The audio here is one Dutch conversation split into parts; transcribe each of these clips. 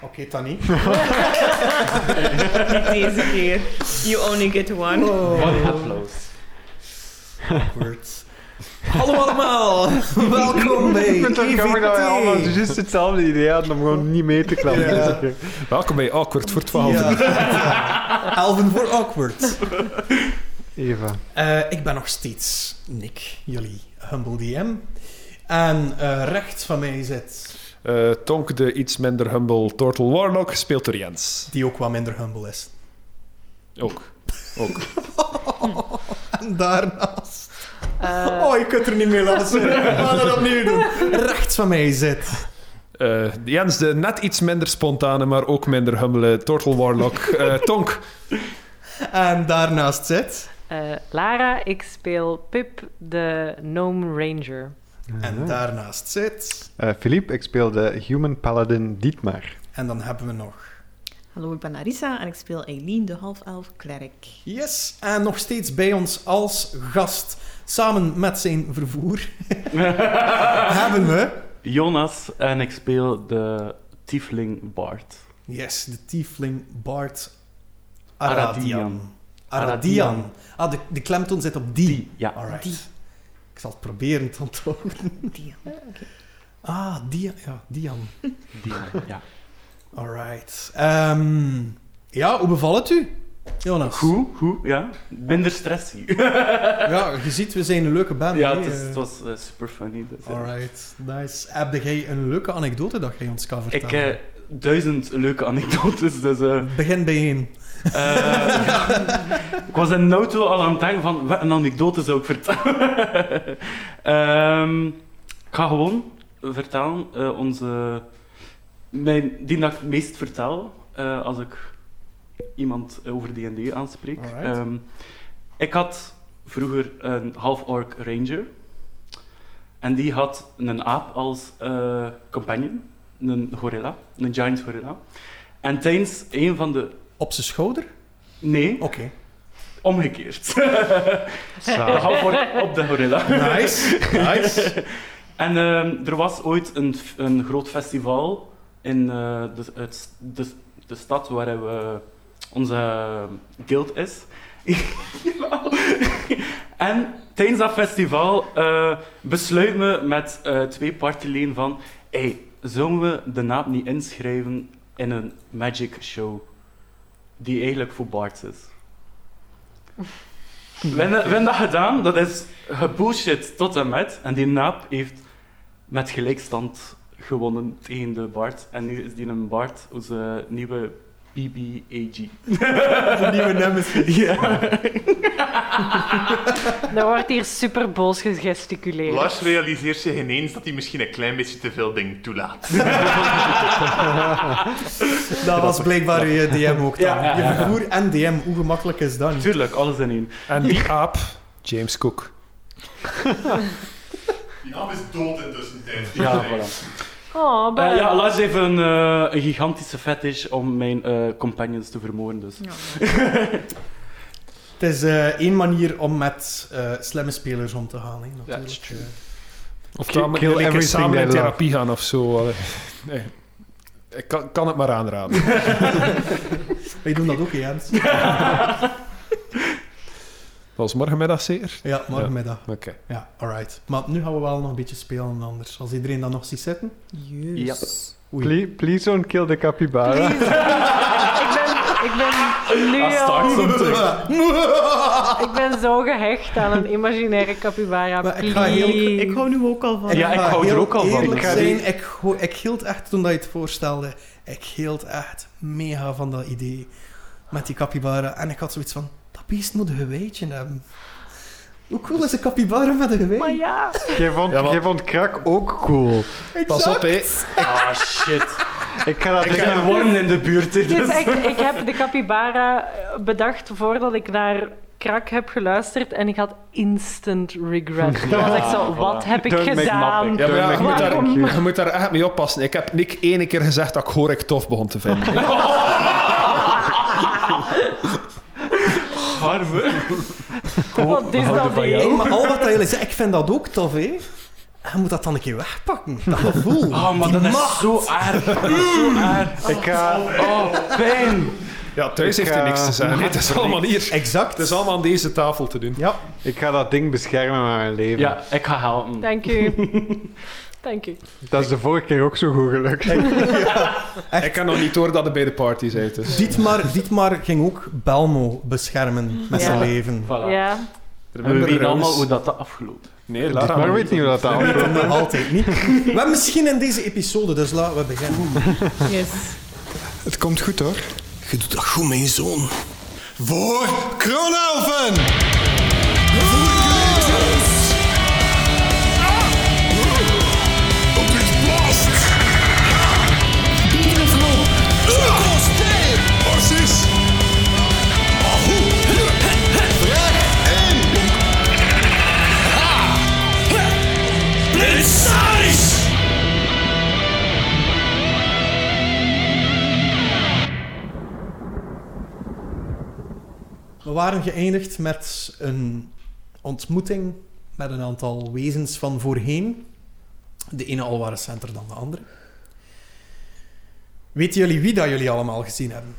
Oké, Tani. Niet deze keer. You only get one. One applaus. Awkward. Hallo allemaal, welkom bij E Ik vind het jammer dat wij allemaal EVT. juist hetzelfde idee hadden om gewoon niet mee te klappen. Ja. Dus, eh, Welkom bij Awkward voor 12. Ja. Elven voor awkward. Eva. Eh, ik ben nog steeds Nick, jullie humble DM. En eh, rechts van mij zit Eh, Tonk, de iets minder humble Turtle Warlock, gespeeld door Jens. die ook wat minder humble is. Ook. Ook. En daarnaast... Eh, Oh, ik kunt er niet meer laten zitten. We gaan dat opnieuw doen. Rechts van mij zit... Eh, Jens, de net iets minder spontane, maar ook minder humble Turtle Warlock. Eh, Tonk. En daarnaast zit... Eh, Lara, ik speel Pip, de Gnome Ranger. En daarnaast zit... Eh, Philippe, ik speel de Human Paladin Dietmar. En dan hebben we nog... Hallo, ik ben Arisa en ik speel Eileen, de half-elf klerk. Yes, en nog steeds bij ons als gast, samen met zijn vervoer, hebben we... Jonas en ik speel de Tiefling Bart. Yes, de tiefling Bart Aradian. Aradian. Aradian. Ah, de, de klemtoon zit op die. Die, ja. Alright. Die. Ik zal het proberen te onthouden. Die. Ah, Dian. Ja, Dian. Die, ja. Alright. Ehm, ja, hoe bevalt het u, Jonas? Goed, goed, ja. Minder stress hier. Ja, je ziet, we zijn een leuke band. Ja, hè? het, is- Eh, het was eh, super funny. dus, eh. Alright, nice. Heb jij een leuke anekdote dat jij ons kan Ik eh, vertellen? heb duizend leuke anekdotes, dus... eh, Begin bij één. eh, ik was in de auto al aan het denken van, wat een anekdote zou ik vertellen. Ehm, ik ga gewoon vertellen eh, onze... Mijn, die dat ik het meest vertel, eh, als ik iemand over D&D aanspreek. Alright. Ehm, ik had vroeger een half-orc ranger. En die had een aap als eh, companion. Een gorilla. Een giant gorilla. En tijdens een van de... Op zijn schouder? Nee, Oké. omgekeerd. de half-orc op de gorilla. Nice. nice. En ehm, er was ooit een, f- een groot festival in eh, de, het, de, de stad waar we, onze guild is. en tijdens dat festival eh besluiten we met eh, twee partijen van hey, zullen we de naam niet inschrijven in een magic show die eigenlijk voor bards is? We hebben- we hebben dat gedaan, dat is gebullshit tot en met. En die naap heeft met gelijkstand gewonnen tegen de Bart. En nu is die een Bart, onze nieuwe BBAG. De nieuwe nemesis. Ja. Er wordt hier super boos gegesticuleerd. Lars realiseert zich ineens dat hij misschien een klein beetje te veel dingen toelaat. Dat was blijkbaar je DM ook dan. Ja, ja, ja. Je vervoer en DM, hoe gemakkelijk is dat niet? Tuurlijk, alles in één. En die aap, James Cook. Die naam is dood intussen tijd. Ja, voilà. Oh, Eh, ben... ja, Lars heeft een, eh, een gigantische fetish om mijn eh, companions te vermoorden. Dus. Ja. Het is eh, één manier om met eh, slimme spelers om te gaan. Hè, natuurlijk. That's true. Of Kill- dan moet kill je een keer everything samen they in love. therapie gaan of zo. Allee. Nee. Ik kan, kan het maar aanraden. eh. Wij doen dat ook, hè, Jens? Dat was morgenmiddag zeker. Ja, morgenmiddag. Oké. Ja, alright. Maar nu gaan we wel nog een beetje spelen anders. Als iedereen dan nog ziet zitten. Yes. Oei. Please, please don't kill the capybara. ik, ben, ik ben nu al- Ah, start something. Ik ben zo gehecht aan een imaginaire capybara. Maar ik ga heel- please. Ik hou nu ook al van. Ja, ik ga hou er heel ook al van. eerlijk Ik ga zijn, die- ik, go- ik hield echt, toen dat je het voorstelde, ik hield echt mega van dat idee. Met die capybara. En ik had zoiets van, dat beest moet een gewijtje hebben. Hoe cool is een capybara met een gewei? Maar ja, Jij vond, Ja, maar- jij vond krak ook cool. Pas op, hé. Ah, shit. Ik ga dat Ik heb een worm in de buurt. hè, het is Dus. echt, ik heb de capybara bedacht voordat ik naar Krak heb geluisterd en ik had instant regret. Ik was echt zo, voilà. wat heb ik Don't make gedaan? nothing. Ja, maar ja, je, moet daar, Waarom? je moet daar echt mee oppassen. Ik heb Nick één keer gezegd dat ik Horik tof begon te vinden. Harme. Wat is dat van hier? Ah, Hey, maar al wat dat jullie zeggen, ik vind dat ook tof, hè? Hij moet dat dan een keer wegpakken. Dat gevoel. Oh, maar Die dat is macht. zo aardig. Dat is zo aardig. Ik ga... Oh, pijn. Ja, thuis Ik eh, heeft hij ga- niks te zeggen. hè. Het is allemaal hier. Exact. Het is allemaal aan deze tafel te doen. Ja. Ik ga dat ding beschermen met mijn leven. Ja, ik ga helpen. Dank u. Dank u. Dat is de vorige keer ook zo goed gelukt. Echt. Ik kan nog niet door dat hij bij de party zit. Dus. Dietmar, Dietmar ging ook Belmo beschermen met Ja. zijn leven. Voilà. Ja. En we Remember weten Rose. allemaal hoe dat, dat afgelopen is. Nee, Lara. Maar weet niet hoe dat We aan. weten het nog altijd niet. We hebben misschien in deze episode, dus laten we beginnen. Yes. Het komt goed hoor. Je doet dat goed, mijn zoon. Voor Kronelfen! Op het blast! Kostel! Precies! Ahu! Vraag 1! Ha! Blitzaris! We waren geëindigd met een ontmoeting met een aantal wezens van voorheen. De ene al wat recenter dan de andere. Weten jullie wie dat jullie allemaal gezien hebben?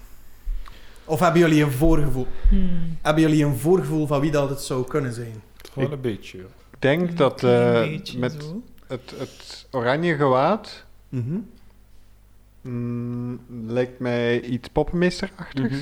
Of hebben jullie een voorgevoel? Hmm. Hebben jullie een voorgevoel van wie dat het zou kunnen zijn? Gewoon een beetje. Ik denk dat Een eh, beetje met zo. het, het oranje gewaad Mhm. mm, lijkt mij iets poppenmeesterachtigs. Mhm.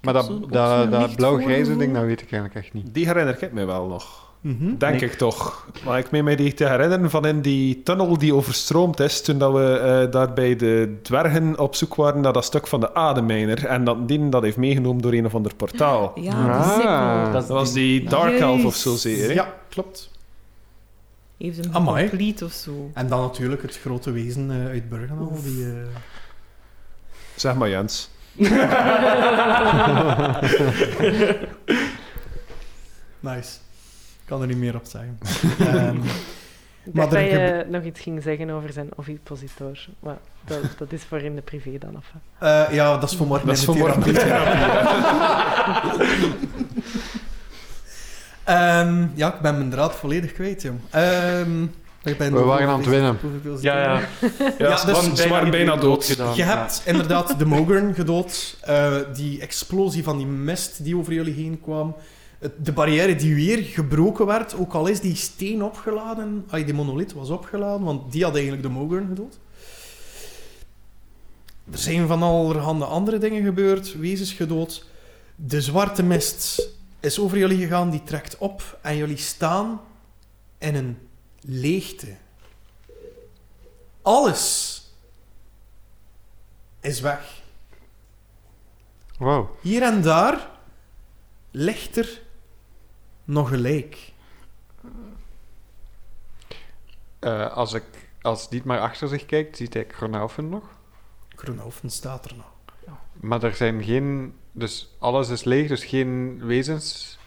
Maar heb dat, zo'n- ook dat, zo'n dat licht blauw-grijze voorgevoel. ding, dat weet ik eigenlijk echt niet. Die herinner ik mij wel nog. Mhm. Denk ik toch. Maar ik meen mij die te herinneren van in die tunnel die overstroomd is toen dat we eh, daar bij de dwergen op zoek waren naar dat stuk van de ademijner. En dat die dat heeft meegenomen door een of ander portaal. Ah. Ja, die sikkel. Dat Dat was die Dark Elf of zozeer. hè? Ja, klopt. Heeft hem Amai. compleet of zo. En dan natuurlijk het grote wezen eh, uit Burgenal. Die, eh, Zeg maar Jens. Nice. Ik kan er niet meer op zeggen. Ehm, Ik Maar dacht dat er je nog iets ging zeggen over zijn ovipositor. Maar dat, dat is voor in de privé dan. Of, wat? eh, ja, dat is voor morgen. Dat is in de voor morgen in de Ehm, ja, ik ben mijn draad volledig kwijt, joh. Ehm, ik ben We waren aan het winnen. Hoeveel zit Ja, er? ja. Ja, Ja, ze dus- waren- ze waren bijna dood. gedaan. Je hebt inderdaad de Mogurn gedood. eh, die explosie van die mist die over jullie heen kwam. Het- De barrière die weer gebroken werd, ook al is die steen opgeladen. Ay, die monolith was opgeladen, want die had eigenlijk de Mogurn gedood. Er zijn van allerhande andere dingen gebeurd. Wezens gedood. De zwarte mist is over jullie gegaan, die trekt op. En jullie staan in een leegte. Alles is weg. Wow. Hier en daar ligt er nog een lijk. Eh, als, ik, als die maar achter zich kijkt, ziet hij Kronaufen nog. Kroonhoven staat er nog. Maar er zijn geen... Dus alles is leeg, dus geen wezens.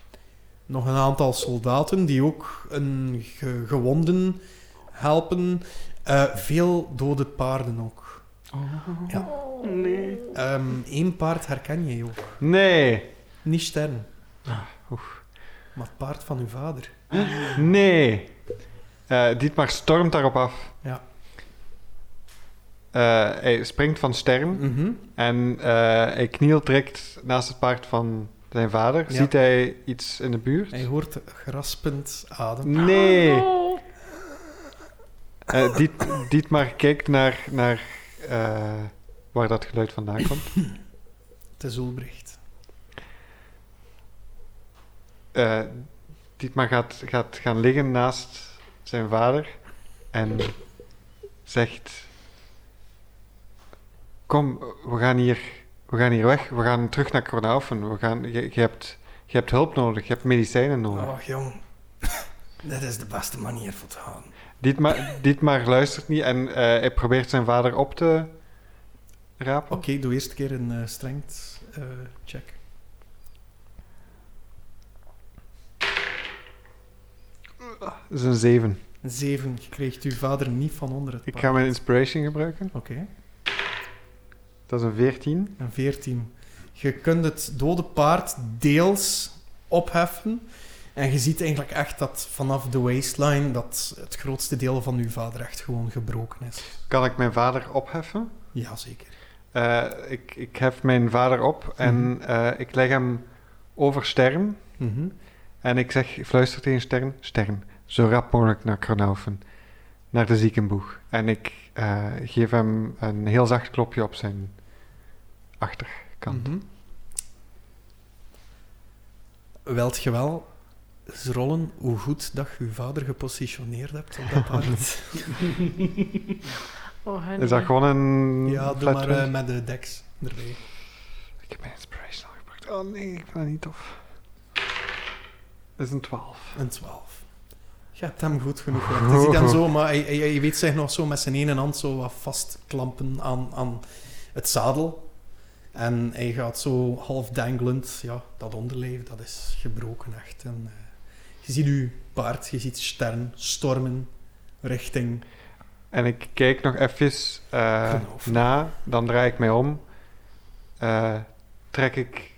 Nog een aantal soldaten die ook een ge- gewonden helpen. Eh, veel dode paarden ook. Oh, Nee. Eén paard herken je ook. Nee. Niet Stern. Maar het paard van uw vader. Nee. Eh Dietmar stormt daarop af. Ja. Eh, hij springt van stern Mhm. en eh, hij knielt direct naast het paard van zijn vader. Ja. Ziet hij iets in de buurt? Hij hoort geraspend adem. Nee. Oh, Eh, Diet, Dietmar kijkt naar, naar eh, waar dat geluid vandaan komt. Het is Ulbricht. eh Dietmar gaat, gaat gaan liggen naast zijn vader en zegt: Kom, we gaan hier, we gaan hier weg, we gaan terug naar Kornaufen. We gaan, je, je hebt, je hebt hulp nodig, je hebt medicijnen nodig. Ach jong, dat is de beste manier voor te gaan. Dietmar, Dietmar luistert niet en eh, hij probeert zijn vader op te rapen. Oké, doe eerst een keer een eh, strength eh, check. Dat is een 7. Een 7. Je kreeg uw vader niet van onder het Ik paard. ga mijn inspiration gebruiken. Oké, Dat is een 14. een 14. Je kunt het dode paard deels opheffen. En je ziet eigenlijk echt dat vanaf de waistline dat het grootste deel van uw vader echt gewoon gebroken is. Kan ik mijn vader opheffen? Jazeker. Eh, ik, ik hef mijn vader op en eh, ik leg hem over Stern. Mhm. En ik zeg, ik fluister tegen Stern, Stern, zo rap mogelijk naar Kronaufen, naar de ziekenboeg. En ik eh, geef hem een heel zacht klopje op zijn achterkant. Mhm. Welt je wel eens rollen hoe goed dat je uw vader gepositioneerd hebt op dat paard? Oh, Henry. Is dat gewoon een... ja, doe flat maar eh, 20? met de deks erbij. Ik heb mijn inspiration al gebruikt. Oh nee, ik vind dat niet tof. Dat is een 12. Een 12. Je hebt hem goed genoeg. gehad. Je ziet hem zo, maar hij, hij, hij weet zich nog zo met zijn ene hand zo wat vastklampen aan, aan het zadel. En hij gaat zo half danglend, ja, dat onderlijf, dat is gebroken echt. En, eh, je ziet uw paard, je ziet Stern stormen richting... En ik kijk nog even eh, Geloof. na, dan draai ik mij om. Eh, trek ik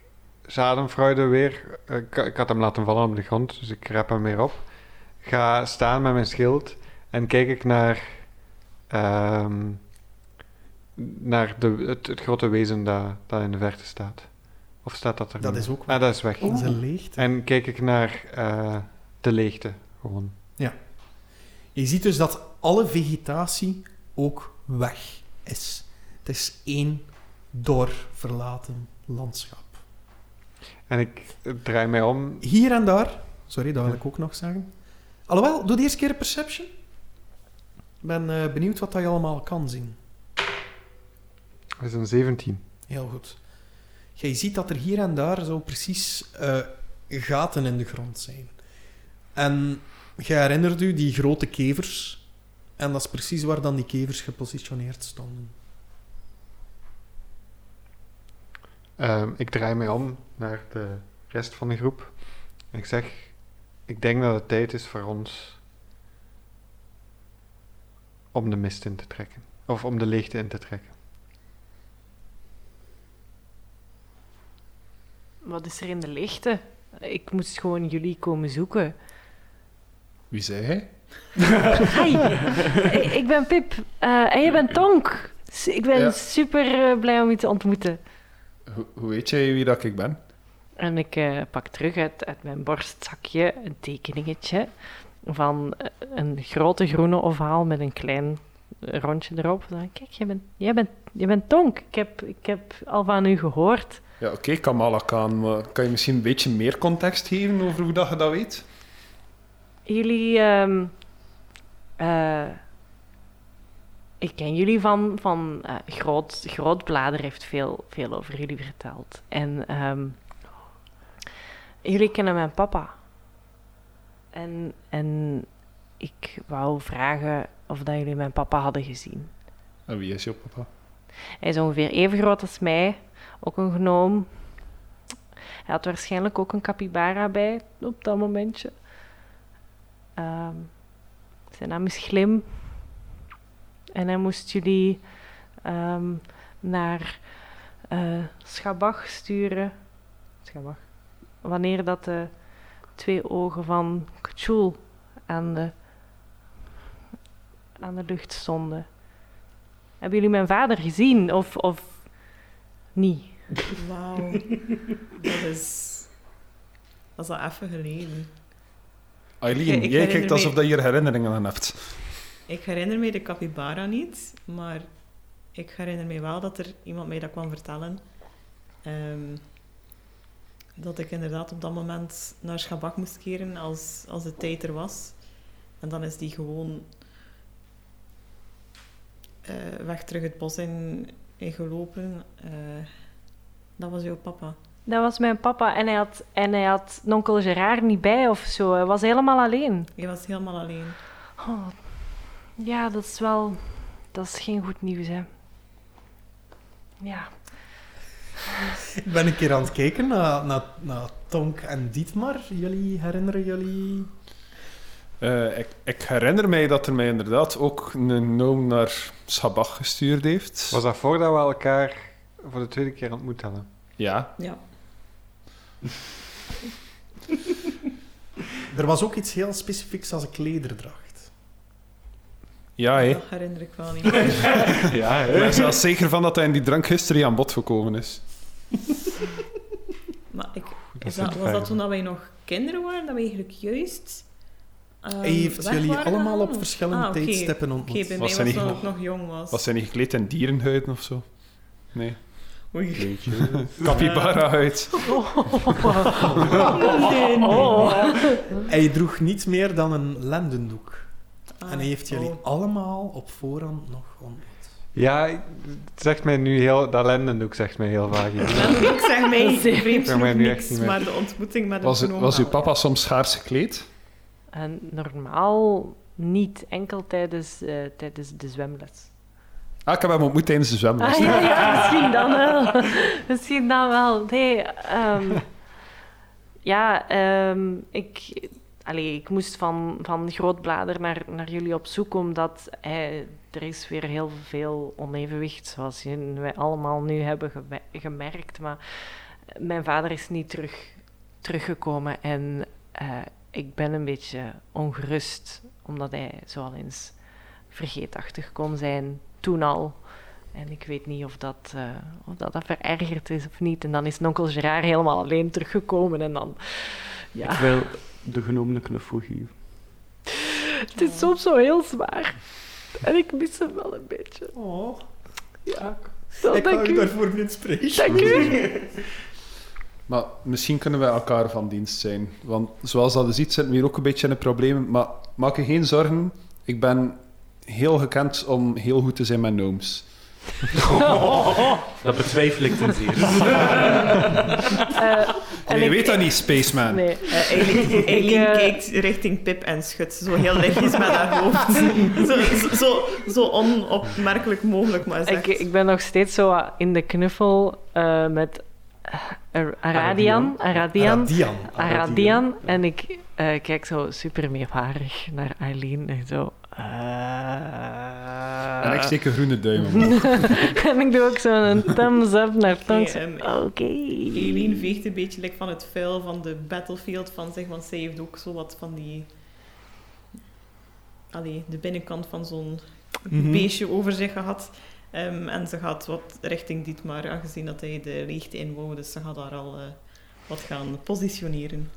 Zadenfreude weer. eh, ik, ik had hem laten vallen op de grond, dus ik rap hem weer op. Ga staan met mijn schild en kijk ik naar, ehm, naar de, het, het grote wezen dat, dat in de verte staat. Of staat dat er Dat niet? is ook Ah, dat is weg. in zijn leegte. En kijk ik naar eh, de leegte gewoon. Je ziet dus dat alle vegetatie ook weg is. Het is één door verlaten landschap. En ik eh, draai mij om. Hier en daar, sorry, dat wil ik ook nog zeggen. Alhoewel, doe de eerste keer een perception. Ik ben eh, benieuwd wat dat je allemaal kan zien. Dat is een 17. Heel goed. Jij ziet dat er hier en daar zo precies eh, gaten in de grond zijn. En jij herinnert u die grote kevers. En dat is precies waar dan die kevers gepositioneerd stonden. Ehm, ik draai mij om naar de rest van de groep. En ik zeg, ik denk dat het tijd is voor ons om de mist in te trekken. Of om de leegte in te trekken. Wat is er in de leegte? Ik moest gewoon jullie komen zoeken. Wie zei hij? Hi, ik- ik ben Pip eh, en je bent Tonk. S- Ik ben Ja. super eh, blij om je te ontmoeten. Hoe, hoe weet jij wie dat ik ben? En ik eh, pak terug uit, uit mijn borstzakje een tekeningetje van eh, een grote groene ovaal met een klein rondje erop. Dan, kijk, jij bent, jij, bent, jij bent Tonk. Ik heb, ik heb al van u gehoord. Ja, oké, Kamala Khan. maar kan je misschien een beetje meer context geven over hoe dat je dat weet? Jullie, ehm, eh, ik ken jullie van, van eh, Groot, Grootblader heeft veel, veel over jullie verteld. En ehm, jullie kennen mijn papa. En, en ik wou vragen of dat jullie mijn papa hadden gezien. En Ah, wie is jouw papa? Hij is ongeveer even groot als mij, ook een gnoom. Hij had waarschijnlijk ook een capybara bij op dat momentje. Ehm, zijn naam is Glim. En hij moest jullie ehm, naar eh Schabach sturen. Schabach. Wanneer dat de twee ogen van K'chul aan de, aan de lucht stonden. Hebben jullie mijn vader gezien of, of niet? Wauw. dat is... Dat is al even geleden. Eileen, Ik- ik jij herinner kijkt alsof me- dat je er herinneringen aan hebt. Ik herinner me de capybara niet, maar ik herinner me wel dat er iemand mij dat kwam vertellen. Ehm, dat ik inderdaad op dat moment naar Schabak moest keren als, als de tijd er was. En dan is die gewoon eh, weg terug het bos in, in gelopen. Eh, dat was jouw papa. Dat was mijn papa en hij had, en hij had nonkel Gerard niet bij of zo. Hij was helemaal alleen. Je was helemaal alleen. Oh, ja, dat is wel... Dat is geen goed nieuws, hè. Ja. Ik ben een keer aan het kijken naar, naar, naar Tonk en Dietmar. Jullie herinneren jullie? Eh, ik, ik herinner mij dat er mij inderdaad ook een noom naar Sabach gestuurd heeft. Was dat voordat we elkaar voor de tweede keer ontmoet hadden? Ja. Ja. Er was ook iets heel specifieks als een klederdracht. Ja, hè. Dat herinner ik wel niet meer. Ja, Ik hè? ben zelfs zeker van dat hij in die drank gisteren aan bod gekomen is. Maar ik, dat is zijn dat, de was dat vragen. toen dat wij nog kinderen waren? Dat we eigenlijk juist... ehm, Hij heeft weg jullie waren allemaal gegaan, op of- verschillende Ah, oké. tijdstippen Oké, ontmoet. bij Was hij mij niet was dat nog- ik nog jong was. Was hij niet gekleed in dierenhuiden of zo? Nee. Oei. Capybara-huid. Oh. Nee, nee. Hij droeg niet meer dan een lendendoek. Ah, en hij heeft jullie oh. allemaal op voorhand nog ontmoet. Ja, ik- het zegt mij nu heel... Dat lendendoek zegt mij heel vaak iets. Wel, ik zeg mij vreemd Zeg mij genoeg nu echt niks, niet meer. maar de ontmoeting met Was, hem was uw papa soms schaars gekleed? En normaal niet, enkel tijdens, eh, tijdens de zwemles. Ah, ik heb hem ontmoet tijdens de zwemles. Ah, ja, ja, misschien dan wel. misschien dan wel. Nee, ehm, ja, ehm, ik, allee, ik moest van, van Grootblader naar, naar jullie op zoek, omdat eh, er is weer heel veel onevenwicht, zoals je- wij allemaal nu hebben geme- gemerkt. Maar mijn vader is niet terug, teruggekomen en eh, ik ben een beetje ongerust, omdat hij zoal eens vergeetachtig kon zijn, toen al. En ik weet niet of dat, eh, of dat, dat verergerd is of niet. En dan is nonkel Gerard helemaal alleen teruggekomen. En dan, Ik ja, wil de genomen een knuffel geven. het is soms zo heel zwaar. En ik mis hem wel een beetje. Oh, Ja. Wel, ik dank kan u u. daarvoor niet spreken. Dank u. Maar misschien kunnen we elkaar van dienst zijn. Want zoals dat je ziet, zitten we hier ook een beetje in de problemen. Maar maak je geen zorgen. Ik ben heel gekend om heel goed te zijn met gnomes. Dat betwijfel ik ten zeer. Eh, en Nee, je ik- weet dat niet, Spaceman. Nee. Eh, Eileen Eileen eh, kijkt richting Pip en schudt zo heel lichtjes met haar hoofd. Zo, zo, zo, zo onopmerkelijk mogelijk, maar Ik, zegt... ik ben nog steeds zo wat in de knuffel eh, met eh, Aradian. Aradian. Aradian. Radian. Aradian. En ik eh, kijk zo super meewarig naar Eileen. En zo... eh. En ik steek een groene duim omhoog. en ik doe ook zo'n thumbs up naar thumbs Oké, up. Oké. ehm, Eileen veegt een beetje like, van het vuil van de battlefield van zich, want zij heeft ook zo wat van die... Allee, de binnenkant van zo'n Mhm. beestje over zich gehad. Ehm, en ze gaat wat richting Dietmar, aangezien dat hij de leegte in wou. Dus ze gaat daar al eh, wat gaan positioneren.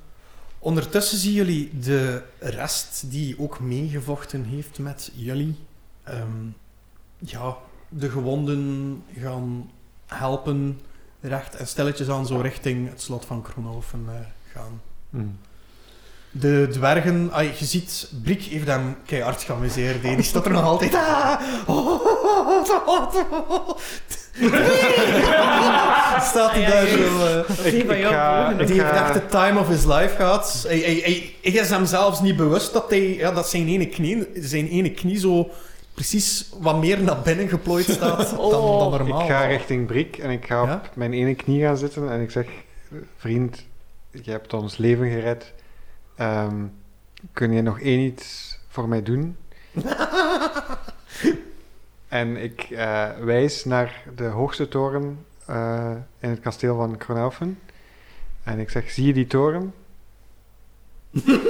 Ondertussen zien jullie de rest die ook meegevochten heeft met jullie. ehm, ja, de gewonden gaan helpen. Recht en stilletjes aan zo richting het slot van Kroonhoven eh, gaan. Mm. De dwergen, ah, je ziet, Brik heeft hem keihard geamuseerd. hè. Die staat er nog altijd. Ah, oh, oh, oh, oh, oh, oh, oh. staat hij Ja, daar juist. zo. eh. Dat is die van ik jou. ga- volgende. ik Die heeft ga- echt de time of his life gehad. Hij, hij, hij- hij is hem zelfs niet bewust dat, hij, ja, dat zijn, ene knie, zijn ene knie zo precies wat meer naar binnen geplooid staat dan, dan normaal. Oh, Ik ga richting Brik en ik ga op Ja? mijn ene knie gaan zitten en ik zeg... Vriend, je hebt ons leven gered. Ehm, kun je nog één iets voor mij doen? en ik eh, wijs naar de hoogste toren eh, in het kasteel van Kronaufen. En ik zeg, zie je die toren?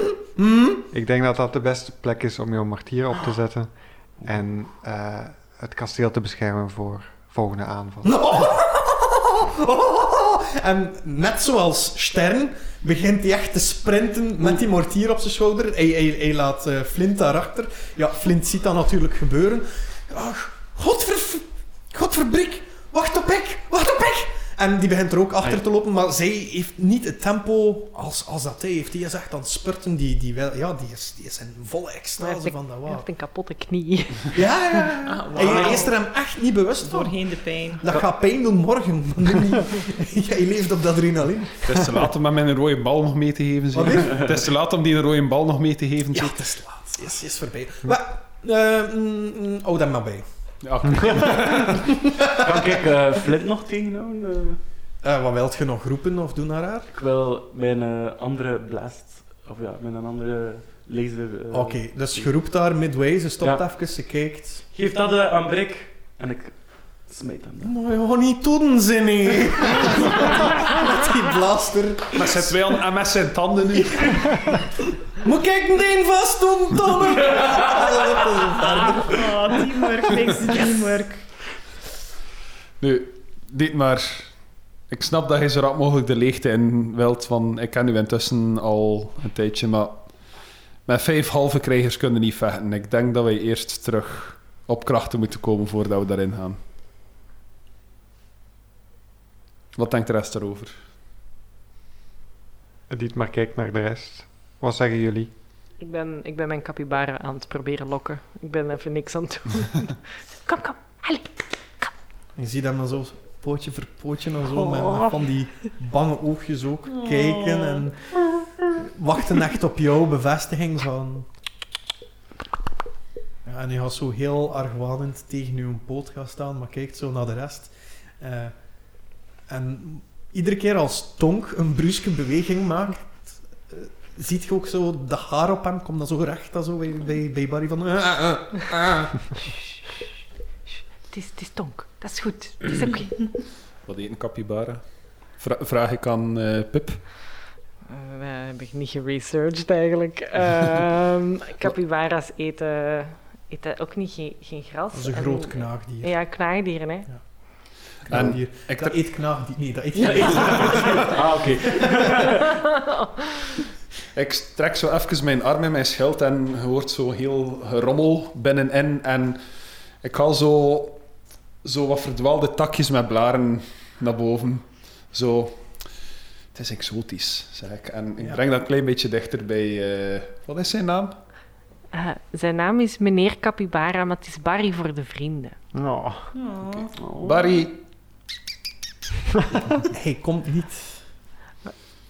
Ik denk dat dat de beste plek is om jouw martier op te zetten. En eh, het kasteel te beschermen voor volgende aanval. Oh. En net zoals Stern begint hij echt te sprinten met die mortier op zijn schouder. Hij, hij, hij laat eh, Flint daarachter. Ja, Flint ziet dat natuurlijk gebeuren. Ach, godver... Godverbrik! Wacht op ik! Wacht op ik! En die begint er ook achter te lopen, maar zij heeft niet het tempo als, als dat hij heeft. Die is echt aan het spurten. Die, die, wel, ja, die, is, die is in volle Maar extase ik- van dat Hij waar. heeft een kapotte knie. Ja, ja, ja. Ah, wauw. Hij, hij is er hem echt niet bewust van. Doorheen de pijn. Dat gaat pijn doen morgen. maar nu niet. Jij leeft op de adrenaline. Het is te laat om hem een rode bal nog mee te geven. Wat zeker? Het is te laat om die een rode bal nog mee te geven. Ja, zeker? het is laat. Het is, is voorbij. Maar, eh mm, mm, hou dat maar bij. Ja, oké. Kan ik eh, Flint nog tegenhouden? Eh, Eh, wat wilt je nog roepen of doen naar haar? ik wil mijn eh, andere blast... Of ja, mijn andere laser... eh, Oké, dus je roept daar midway, ze stopt Ja. even, ze kijkt. Geef dat eh, aan Brik. En ik smijt hem. Maar je gaat niet doen, Zinnie. Met die blaster. Maar zet wel een MS in tanden nu. Moet ik meteen vast doen, Tommer? Oh, teamwork makes the dream work. Nu, dit maar. Ik snap dat je zo rap mogelijk de leegte in wilt, want ik ken u intussen al een tijdje, maar met vijf halve krijgers kunnen niet vechten. Ik denk dat wij eerst terug op krachten moeten komen voordat we daarin gaan. Wat denkt de rest daarover? maar kijkt naar de rest. Wat zeggen jullie? Ik ben, ik ben mijn capybara aan het proberen lokken. Ik ben even niks aan het doen. kom, kom. Je ziet hem dan zo pootje voor pootje en zo, met- Oh. met van die bange oogjes ook Oh. kijken en wachten echt op jouw bevestiging van... Ja, en hij gaat zo heel argwanend tegen uw poot gaan staan, maar kijkt zo naar de rest. Eh, en iedere keer als Tonk een bruske beweging maakt, eh, ziet je ook zo de haar op hem, komt dan zo recht dan zo bij, bij, bij Barry van... eh, eh, eh, eh. Het is, het is tonk. Dat is goed. Het is oké. Wat eet een capybara? Vra- vraag ik aan eh, Pip. Eh, we hebben niet geresearched eigenlijk. Ehm capybara's eten, eten ook niet geen, geen gras. Dat is een en- groot knaagdier. Ja, knaagdieren, hè. knaagdier. Ik Dat eet knaagdier. Nee, dat eet Ja, knaagdier. Ah, oké. Ik trek zo even mijn arm in mijn schild en je hoort zo heel gerommel binnenin. En ik haal zo, zo wat verdwaalde takjes met blaren naar boven. Zo, het is exotisch, zeg ik. En ik Ja. breng dat een klein beetje dichter bij... eh, wat is zijn naam? Eh, zijn naam is meneer Capybara, maar het is Barry voor de vrienden. Oh. Oh. Barry. Hij komt niet.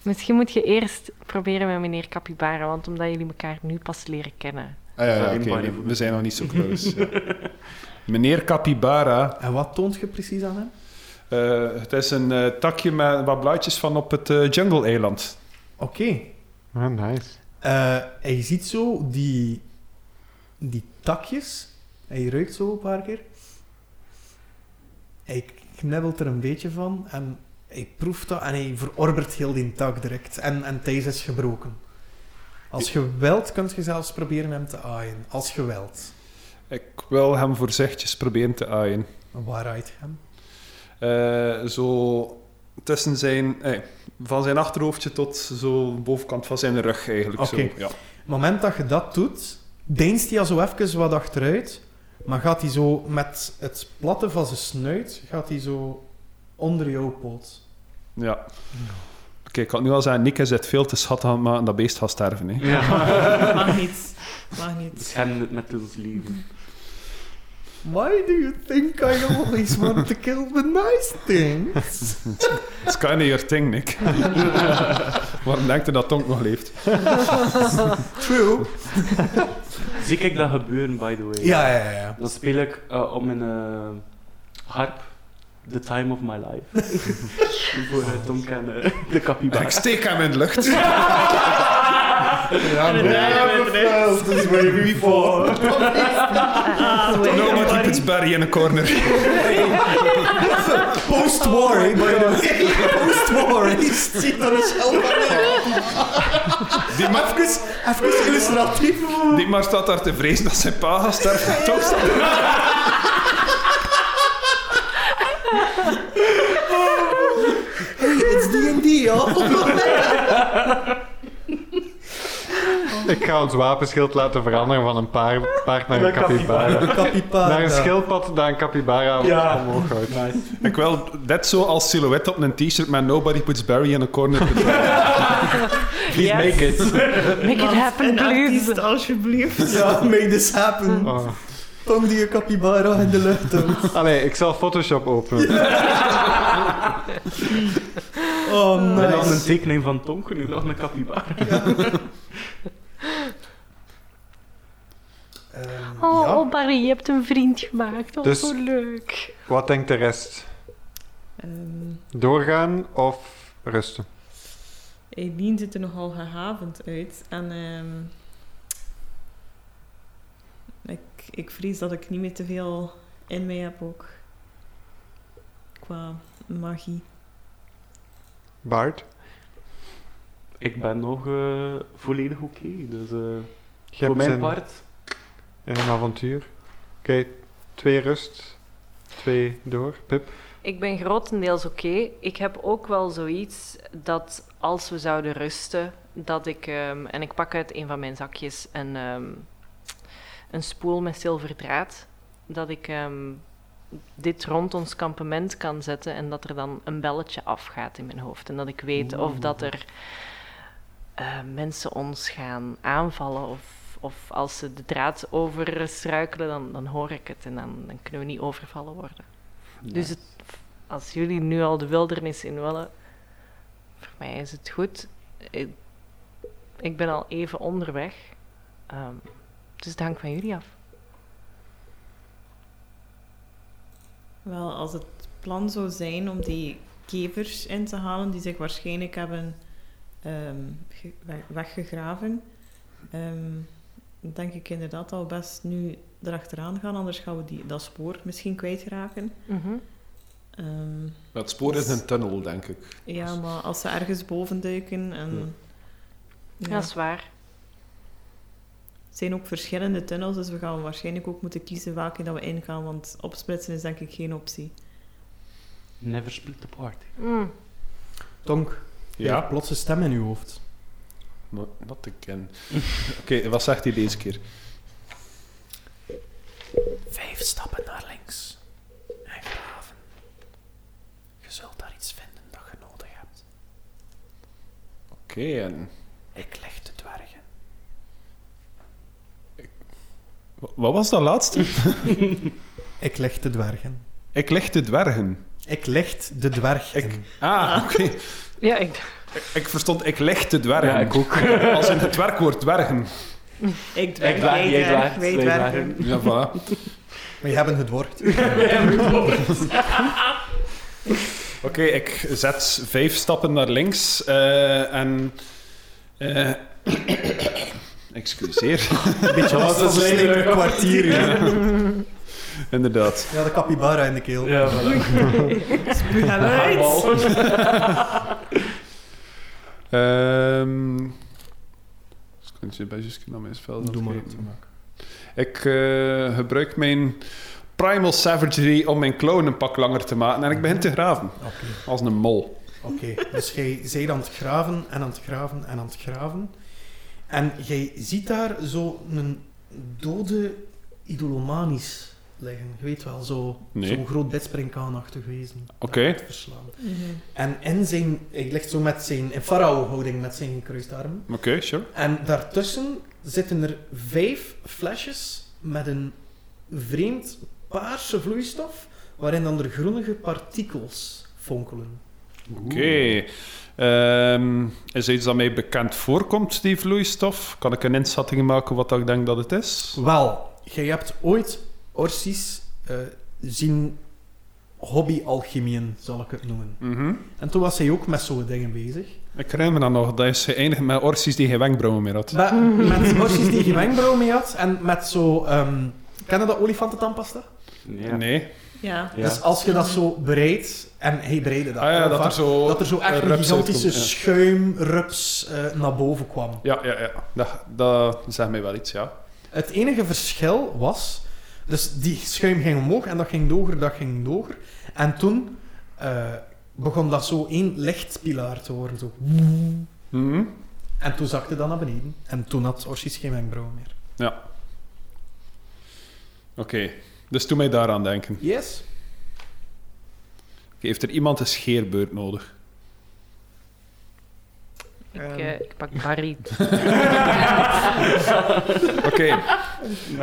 Misschien moet je eerst proberen met meneer Capybara, want omdat jullie elkaar nu pas leren kennen. Ah ja, ja, Sorry, oké, Barry. we- we zijn nog niet zo close. ja. Meneer Capybara En wat toont je precies aan hem? Eh, het is een eh, takje met wat blaadjes van op het eh, jungle-eiland. Oké. Ah, nice. Eh, hij ziet zo die, die takjes. Hij ruikt zo een paar keer. Hij knibbelt er een beetje van en hij proeft dat en hij verorbert heel die tak direct. En, en Thijs is gebroken. Als je wilt, kun je zelfs proberen hem te aaien. Als je wilt. Ik wil hem voorzichtig proberen te aaien. Waar aait je hem? Eh, zo tussen zijn... eh, van zijn achterhoofdje tot zo de bovenkant van zijn rug eigenlijk. Oké. Zo, ja. het moment dat je dat doet, deinst hij al zo even wat achteruit, maar gaat hij zo met het platte van zijn snuit, gaat hij zo onder jouw poot. ja. Oké, ik kan nu al zeggen, Nick is het veel te schat aan het maken dat beest gaat sterven. Hè. Ja. Mag niet. Mag niet. En met ons lief. Why do you think I always want to kill the nice things? It's kind of your thing, Nick. Waarom denkt u dat Tonk nog leeft? True. Zie ik dat gebeuren, by the way? Ja, ja, ja. Dan speel ik eh, op mijn eh, harp The Time of My Life. Voor eh, Tom en eh, de En capybara. ik steek hem in de lucht. ja. Inderdaad, Never inderdaad. felt this way before. Ah, No, but he puts Barry in a corner. Post-war, eh, by the way. Post-war. eh. Je ziet dat is helemaal Die man- Even, even illustratief. Die maar staat daar te vrezen dat zijn pa gaat sterven. Toch staat hij- Hey, it's D&D, joh. Ik ga ons wapenschild laten veranderen van een paard, paard naar een Naar een capybara. Capybara. Naar een schildpad, naar een capybara Ja. omhoog houdt. Nice. Ik wil net zo als silhouet op een t-shirt met Nobody Puts Barry in a Corner. Please Yes. make it. Make it happen, Een please. artiest, alsjeblieft. Ja, make this happen. Oh. Tong die je capybara in de lucht houdt. Allee, ik zal Photoshop openen. Oh, En dan een nice. tekening van Tom, nu nog een capybara. Ehm, Oh, ja. oh, Barry, je hebt een vriend gemaakt. Oh, Dus- zo leuk. Wat denkt de rest? Ehm, Doorgaan of rusten? Eileen ziet er nogal gehavend uit. En ehm, ik, ik vrees dat ik niet meer te veel in mij heb ook. Qua magie. Bart? Ik ben nog eh, volledig oké. Dus eh, Je voor hebt mijn zin part. in een avontuur. Oké, twee rust. Twee door. Pip. Ik ben grotendeels oké. Ik heb ook wel zoiets dat als we zouden rusten, dat ik, ehm, en ik pak uit een van mijn zakjes een, ehm, een spoel met zilverdraad, dat ik ehm, dit rond ons kampement kan zetten en dat er dan een belletje afgaat in mijn hoofd. En dat ik weet of dat er eh, mensen ons gaan aanvallen of. Of als ze de draad overstruikelen, dan, dan hoor ik het en dan, dan kunnen we niet overvallen worden. Dus het, als jullie nu al de wildernis in willen, voor mij is het goed. Ik, ik ben al even onderweg. Ehm, dus het hangt van jullie af. Wel, als het plan zou zijn om die kevers in te halen, die zich waarschijnlijk hebben ehm, ge- we- weggegraven, ehm, denk ik inderdaad al best nu erachteraan gaan, anders gaan we die, dat spoor misschien kwijtraken. Mhm. Ehm Dat spoor is een tunnel, denk ik. ja, maar als ze ergens boven duiken en... Ja, Dat is waar. het zijn ook verschillende tunnels, dus we gaan waarschijnlijk ook moeten kiezen welke dat we ingaan, want opsplitsen is denk ik geen optie. Never split the party. Mm. Tonk, ja. Ja, plotse stem in uw hoofd. no- not again. Oké, wat zegt hij deze keer? Vijf stappen naar links. En graven. Je zult daar iets vinden dat je nodig hebt. Oké, en Ik leg de dwergen. wa- wat was dat laatste? Ik leg de dwergen. ik leg de dwergen. Ik leg de dwergen. Ik, ah, oké. Ja, ik, Ik verstond, ik leg de dwergen. Ja, ik ook. Als in het werkwoord dwergen. Ik dwerg, dwerg, jij jij dwerg, dwerg, wij wij dwergen. dwergen. Ja, voilà. Maar je hebt het woord. Oké, ik zet vijf stappen naar links eh, en... eh, excuseer. Beetje Dat last was van een een hele slechte leuke kwartier. Ja. Inderdaad. ja, de capybara in de keel. Ja, voilà. Haarballen. Ehm dus kunt je bij Juskin dan eens spel Doe maar. Ik eh, gebruik mijn Primal Savagery om mijn clone een pak langer te maken en ik begin te graven Oké, als een mol. oké. dus jij zijt aan het graven en aan het graven en aan het graven. En jij ziet daar zo een dode idolomanisch liggen. Je weet wel, zo- zo'n Nee. groot bedspringkaanachtig wezen. Oké. Dat het verslaan. Mhm. En in zijn, hij ligt zo met zijn, in farao-houding met zijn gekruiste armen. Oké, sure. En daartussen zitten er vijf flesjes met een vreemd paarse vloeistof, waarin dan er groenige partikels fonkelen. Oké. Ehm, is er iets dat mij bekend voorkomt, die vloeistof? Kan ik een inschatting maken wat dat ik denk dat het is? Wel, jij hebt ooit Orsis eh, zien hobby-alchemieën, zal ik het noemen. Mhm. En toen was hij ook met zo'n dingen bezig. Ik herinner me dan nog, dat is geëindigd met orsies die geen wenkbrauwen meer had. Met, met Orsis die geen wenkbrauw mee had en met zo... ehm ken je dat olifantentandpasta? Ja. Nee. Ja. Ja. Dus als je dat zo bereidt, en hij bereidde dat, Ah ja, heel dat er vaak, zo... dat er zo echt een een rups gigantische uitkomt, ja. schuimrups eh, naar boven kwam. Ja, ja, ja. Dat, dat zegt mij wel iets, ja. Het enige verschil was, dus die schuim ging omhoog en dat ging hoger, dat ging hoger. En toen eh, begon dat zo één lichtpilaar te worden. Zo. Mhm. En toen zakte dat naar beneden. En toen had Orsis geen wenkbrauw meer. Oké, dus doe mij daaraan denken. Yes. Oké, heeft er iemand een scheerbeurt nodig? ik, Ehm. eh, ik pak Barry. Oké,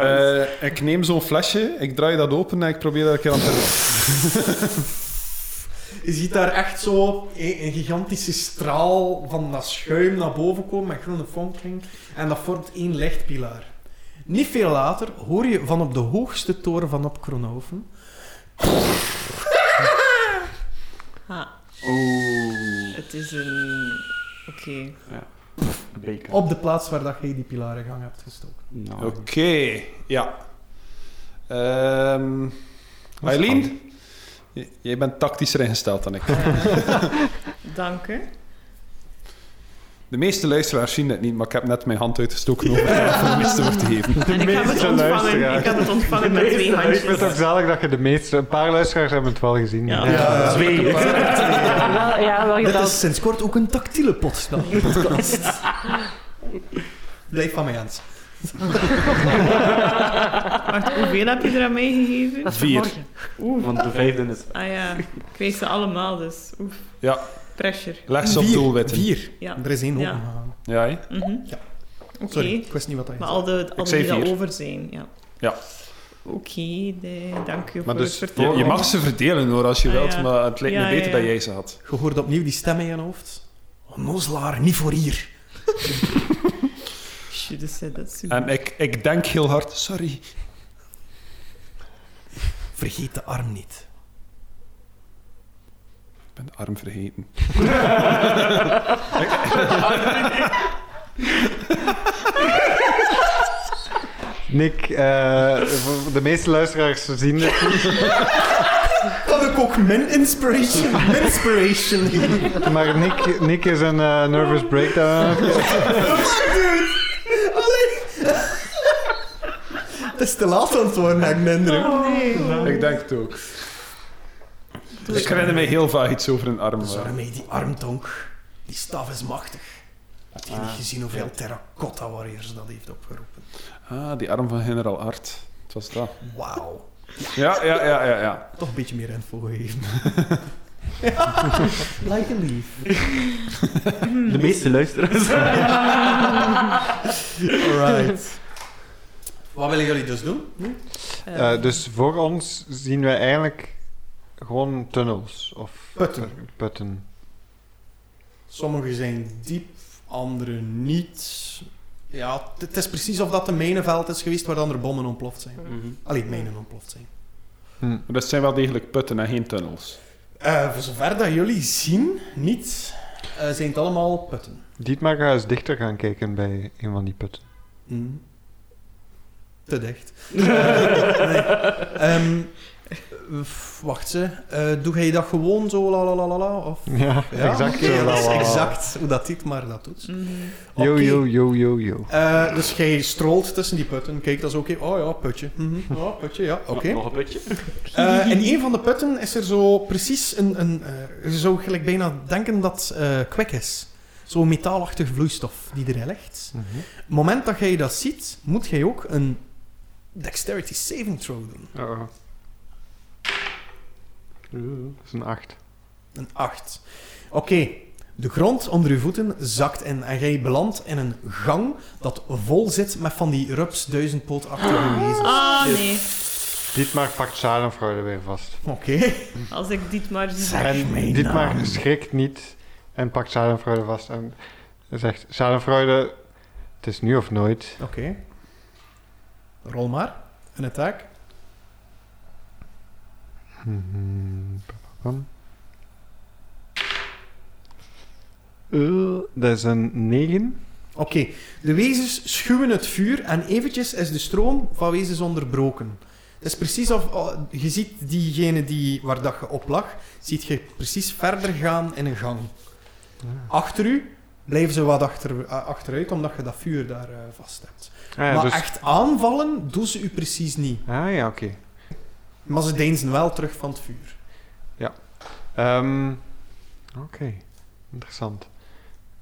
eh, ik neem zo'n flesje, ik draai dat open en ik probeer dat een keer aan te... Je ziet daar echt zo een, een gigantische straal van dat schuim naar boven komen met groene fonkeling. En dat vormt één lichtpilaar. Niet veel later hoor je van op de hoogste toren van op Kronoven. Ha, Oeh. het is een... Oké. Bacon. Op de plaats waar dat jij die pilaar in gang hebt gestoken. Nou. Oké, ja. Ehm Eileen? J- Jij bent tactischer ingesteld dan ik. Dank u. De meeste luisteraars zien het niet, maar ik heb net mijn hand uitgestoken om het meeste woord te geven. En ik heb het meeste ontvangen, luisteraars. ik heb het ontvangen met twee meeste Ik vind handjes. het ook zalig dat je de meeste... Een paar luisteraars hebben het wel gezien. Ja. Ah, Ja, Twee. Oh, Wel, ja, wel Dit geteld. is sinds kort ook een tactiele pot. dan. podcast. Blijf van mij aan. Wacht, hoeveel heb je er aan meegegeven? Dat is Vier. vanmorgen. Want de vijfde is... Ah ja, ik kreeg ze allemaal dus. Oef. Ja. Pressure. Leg ze op doelwitten. Vier. Ja. Er is één Ja. opengegaan. Ja, hè? Mhm. Ja. Oké, Sorry, ik wist niet wat dat maar is. al de al zei die dat vier. over zijn, ja. Ja. Oké, nee, dank je Maar voor dus, het je, vertellen. je mag ze verdelen hoor, als je Ah, wilt, ja. maar het lijkt Ja, me ja, beter ja. dat jij ze had. Je hoort opnieuw die stem in je hoofd. Onnozelaar, niet voor hier. Should have said that sooner. En ik, ik denk heel hard, sorry. Vergeet de arm niet. Ik ben de arm vergeten. Nick, eh, voor de meeste luisteraars zien het Had ik ook min inspiration? Min inspiration. Maar Nick, Nick is een eh, nervous breakdown. Het is te laat aan het worden, heb ik de indruk. Oh, Ik denk het ook. Ik herinner mij heel vaak iets over een arm. Dus maar- daarmee, die armtonk, die staf is machtig. Had je niet Ah. gezien hoeveel terracotta warriors dat heeft opgeroepen? Ah, die arm van generaal Art. Het was dat. Wauw. Ja, ja, ja, ja. ja. Toch een beetje meer info gegeven. like a leaf. De meeste luisteraars. Alright. Wat willen jullie dus doen? Eh, Eh, dus voor ons zien wij eigenlijk gewoon tunnels of Putten. putten. Sommige zijn diep, andere niet. Ja, t- het is precies of dat een mijnenveld is geweest waar dan er bommen ontploft zijn. Mhm. Allee, mijnen ontploft zijn. Hm. Maar dat zijn wel degelijk putten en geen tunnels. Eh, voor zover dat jullie zien, niet, eh, zijn het allemaal putten. Dietmar gaat eens dichter gaan kijken bij een van die putten. Hm. Te dicht. Eh, Nee. Ehm, f- wacht, ze. Eh, doe jij dat gewoon zo, la la la la la? Of... Ja, exact. eh, oké, zo dat is wel. exact hoe dat dit maar dat doet. mhm. Oké. Yo, yo, yo, yo, yo. Eh, dus jij strolt tussen die putten. Kijk, dat is oké. Oh ja, putje. Mhm. Ja, putje, ja, oké. Nog een putje. Eh, in een van de putten is er zo precies een... een eh, je zou gelijk bijna denken dat eh kwek is. Zo'n metaalachtig vloeistof die erin ligt. Mhm. Het moment dat jij dat ziet, moet jij ook een dexterity saving throw doen. Uh-oh. Oeh, Dat is een 8. Een 8. Oké, de grond onder je voeten zakt in en jij belandt in een gang dat vol zit met van die rups duizendpootachtige wezens. Dus, Ah nee, Dietmar pakt schadenfraude weer vast. Oké. als ik dit maar zie. Zeg mij nou. en Dietmar naam. schrikt niet en pakt schadenfraude vast en zegt... Schadenfraude, het is nu of nooit. Oké. Rol maar. Een attack. Mhm, pam, pam, pam. Eh, dat is een 9. Oké, de wezens schuwen het vuur en eventjes is de stroom van wezens onderbroken. Het is precies of oh, je ziet diegene die, waar dat je op lag, ziet je precies verder gaan in een gang. Ah. Achter u blijven ze wat achter, eh, achteruit, omdat je dat vuur daar eh, vast hebt. Ah, ja, maar dus- echt aanvallen doen ze u precies niet. ah ja, oké. Maar ze deinzen wel terug van het vuur. Ehm, oké, interessant.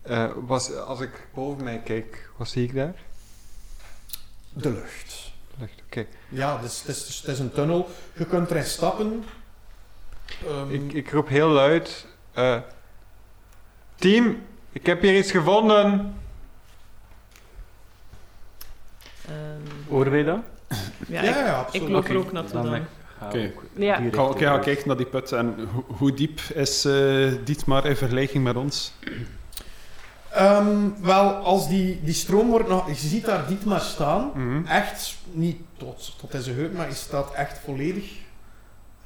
Eh, was, als ik boven mij kijk, wat zie ik daar? De lucht. Lucht, oké. Ja, dus het is, dus het is een tunnel. Je kunt erin stappen. Ehm, Ik, ik roep heel luid... eh, team, ik heb hier iets gevonden! Ehm, Horen wij dat? ja, ja, ik, ja, ik absoluut. loop Oké, er ook naartoe dan dan. ik- Oké. Ja. Ik ga, ik ga kijken naar die putten en ho- hoe diep is eh Dietmar in vergelijking met ons? Ehm, wel, als die, die stroom wordt nog... Je ziet daar Dietmar staan. Mhm. Echt niet tot, tot in zijn heup, maar hij staat echt volledig...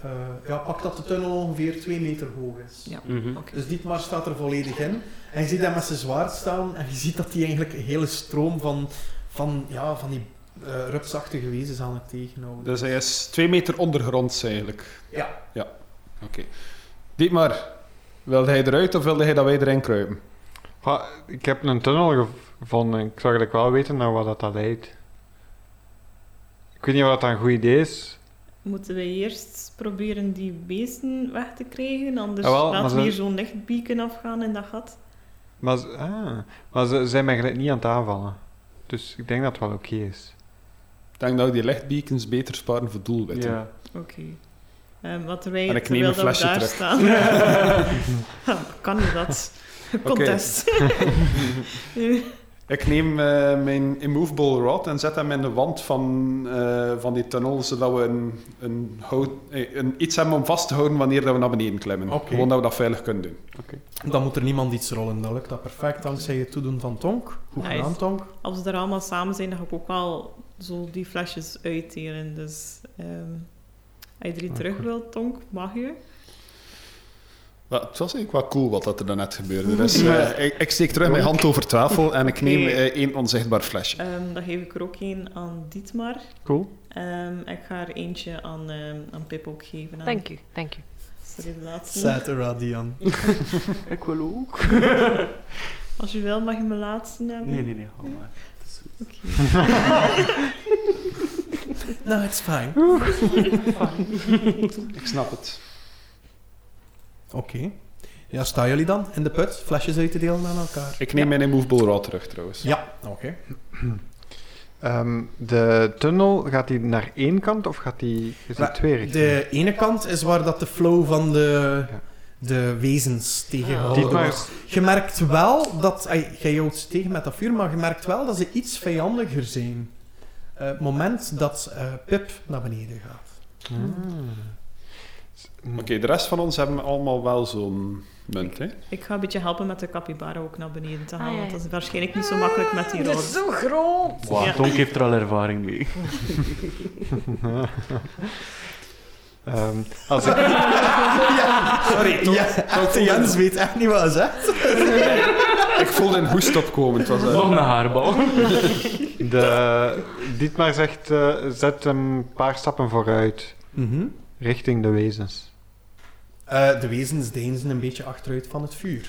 eh, ja, pak dat de tunnel ongeveer twee meter hoog is. Ja. Mhm. Oké. Dus Dietmar staat er volledig in. En je ziet hem met zijn zwaard staan. En je ziet dat hij eigenlijk een hele stroom van, van, ja, van die eh rupsachtige wezens aan het tegenhouden. Dus hij is twee meter ondergronds eigenlijk. Ja. Ja, oké. Dietmar, wilde hij eruit of wilde hij dat wij erin kruipen? Pa- Ik heb een tunnel gevonden. Ik zou eigenlijk wel weten naar wat dat dat leidt. Ik weet niet of dat een goed idee is. Moeten we eerst proberen die beesten weg te krijgen? Anders Ah, wel, maar laten ze- we hier zo'n lichtbieken afgaan in dat gat. Maar, ze- ah, maar ze zijn mij gelijk niet aan het aanvallen. Dus ik denk dat het wel oké is. Ik denk dat we die lichtbeacons beter sparen voor doelwitten. Ja. Oké. Ehm, wat wij En ik neem terwijl een dat we flesje daar terug. staan. Ha, kan je dat? Contest. Ik neem eh, mijn immovable rod en zet hem in de wand van, eh, van die tunnel, zodat we een, een hout, eh, een, iets hebben om vast te houden wanneer dat we naar beneden klimmen. Oké. Gewoon dat we dat veilig kunnen doen. Dan moet er niemand iets rollen. Dat lukt dat perfect dankzij het toedoen van Tonk. Goed Nice. gedaan, Tonk. Als we er allemaal samen zijn, dan ga ik ook wel zo die flesjes uitdelen. Dus ehm, als je drie Ah, terug wilt, Tonk, mag je. Wel, het was eigenlijk wel cool wat dat er daarnet gebeurde. Dus eh, ik, ik steek terug mijn hand over tafel en ik neem Oké. eh, één onzichtbaar flesje. Ehm, dan geef ik er ook één aan Dietmar. Cool. Ehm, ik ga er eentje aan, ehm, aan Pip ook geven. aan- Dank u, dank u. Sorry, de laatste. Cetera, Dian. Ik wil ook. Als je wil, mag je mijn laatste hebben. Nee, nee, nee. hou maar. Het is goed. Oké. Nou, No, it's fine. Ik snap het. Oké. Ja, staan jullie dan in de put, flesjes uit te delen aan elkaar? Ik neem mijn immovable rod terug trouwens. Ja, oké. Ehm, de tunnel, gaat die naar één kant of gaat die... Is die Maar twee richtingen? De ene kant is waar dat de flow van de, Ja. de wezens tegengehouden Dietmar- wordt. Je merkt wel dat... ai, Jij houdt ze tegen met dat vuur, maar je merkt wel dat ze iets vijandiger zijn. Eh, het moment dat eh, Pip naar beneden gaat. Hmm. Oké, de rest van ons hebben allemaal wel zo'n munt, hè? Ik ga een beetje helpen met de capybara ook naar beneden te halen. Ah, ja, Want ja. dat is waarschijnlijk niet zo makkelijk met die Het rol. is zo groot! Wow, Ja. Tonk heeft er al ervaring mee. Ehm, als ik, Sorry, toch? Jens weet echt niet wat hij zegt. Ik voelde een hoest opkomen. Het was, eh, Nog een haarbal. de, Dietmar zegt, eh, zet een paar stappen vooruit. Mhm. Richting de wezens. Eh, de wezens deinzen een beetje achteruit van het vuur.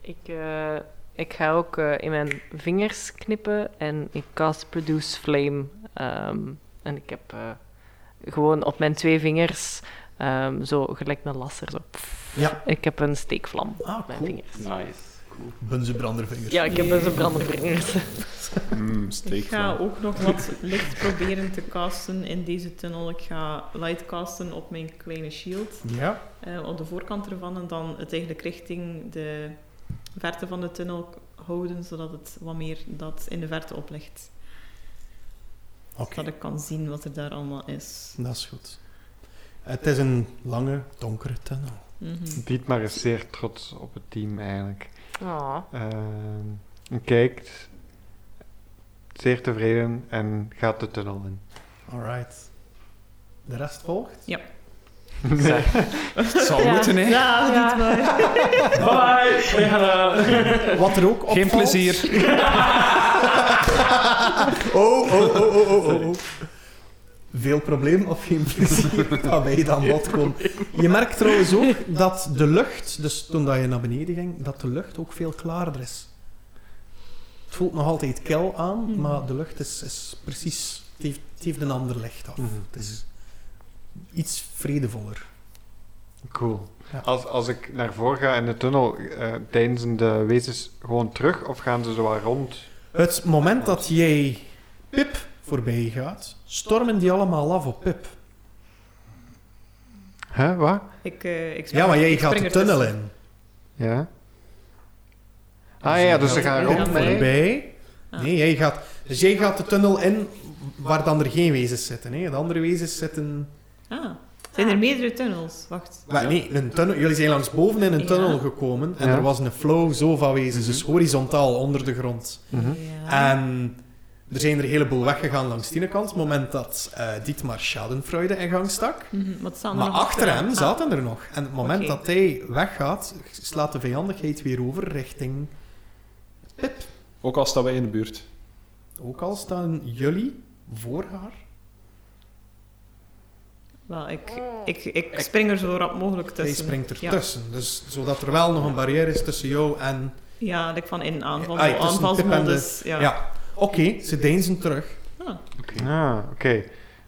Ik, eh, ik ga ook eh, in mijn vingers knippen en ik cast Produce Flame. ehm, en ik heb eh, gewoon op mijn twee vingers, ehm, zo gelijk een lasser, zo. pff. Ja. Ik heb een steekvlam Ah, op mijn cool. vingers. Nice. Cool. Bunze brandervingers. Ja, ik heb dus een brandervingers. mm, Ik ga steekvlam. ook nog wat licht proberen te casten in deze tunnel. Ik ga light casten op mijn kleine shield. Ja. eh, op de voorkant ervan. En dan het eigenlijk richting de verte van de tunnel houden. Zodat het wat meer dat in de verte oplicht. Oké, Zodat ik kan zien wat er daar allemaal is. dat is goed. Het is een lange, donkere tunnel. Mhm. Dietmar is zeer trots op het team eigenlijk. Oh, Ehm, en kijkt zeer tevreden en gaat de tunnel in. Alright. De rest volgt? Het zal Ja. moeten, hè? Ja, Ja. niet waar. Bye! Wij gaan, eh, Wat er ook op Geen plezier. Oh, oh, oh, oh, oh, oh, oh. Veel probleem of geen plezier dat wij dan bod komen. Je merkt trouwens ook dat de lucht, dus toen dat je naar beneden ging, dat de lucht ook veel klaarder is. Het voelt nog altijd kil aan, Mhm. maar de lucht is, is precies... Het heeft, het heeft een ander licht af. Het is iets vredevoller. Cool. Ja. Als, als ik naar voren ga in de tunnel, eh tijdens de wezens gewoon terug of gaan ze zo wat rond? Het moment dat jij Pip voorbij gaat, stormen die allemaal af op Pip. Hè, wat? Ik, eh, ik spring- Ja, maar jij ik gaat spring de ertussen. tunnel in. Ja. Ah ja, dus ze gaan Ja, rond voor mij. Voorbij. Ah. Nee, jij gaat, dus jij gaat de tunnel in waar dan er geen wezens zitten. Hè? De andere wezens zitten... Ah, zijn er meerdere tunnels? Wacht. Maar nee, een tunnel, jullie zijn langs boven in een Ja. tunnel gekomen en Ja. er was een flow zo van wezens, dus horizontaal onder de grond. Mhm. Ja. En er zijn er een heleboel weggegaan langs die ene kant. Het moment dat eh, Dietmar Schadenfreude in gang stak. Mhm, Wat staan er Maar nog achter hem Ah, zaten er nog. En het moment Oké. dat hij weggaat, slaat de vijandigheid weer over richting Pip. Ook al staan wij in de buurt. Ook al staan jullie voor haar. Ah, Wel, ik, Oh. ik, ik spring er zo rap mogelijk Hij tussen. springt Ja. ertussen. Dus zodat er wel nog een barrière is tussen jou en Ja, like van in aanval, Ah, ja, tussen aanvalsmodus. Ja. ja. Oké, ze deinzen terug. Ah, oké.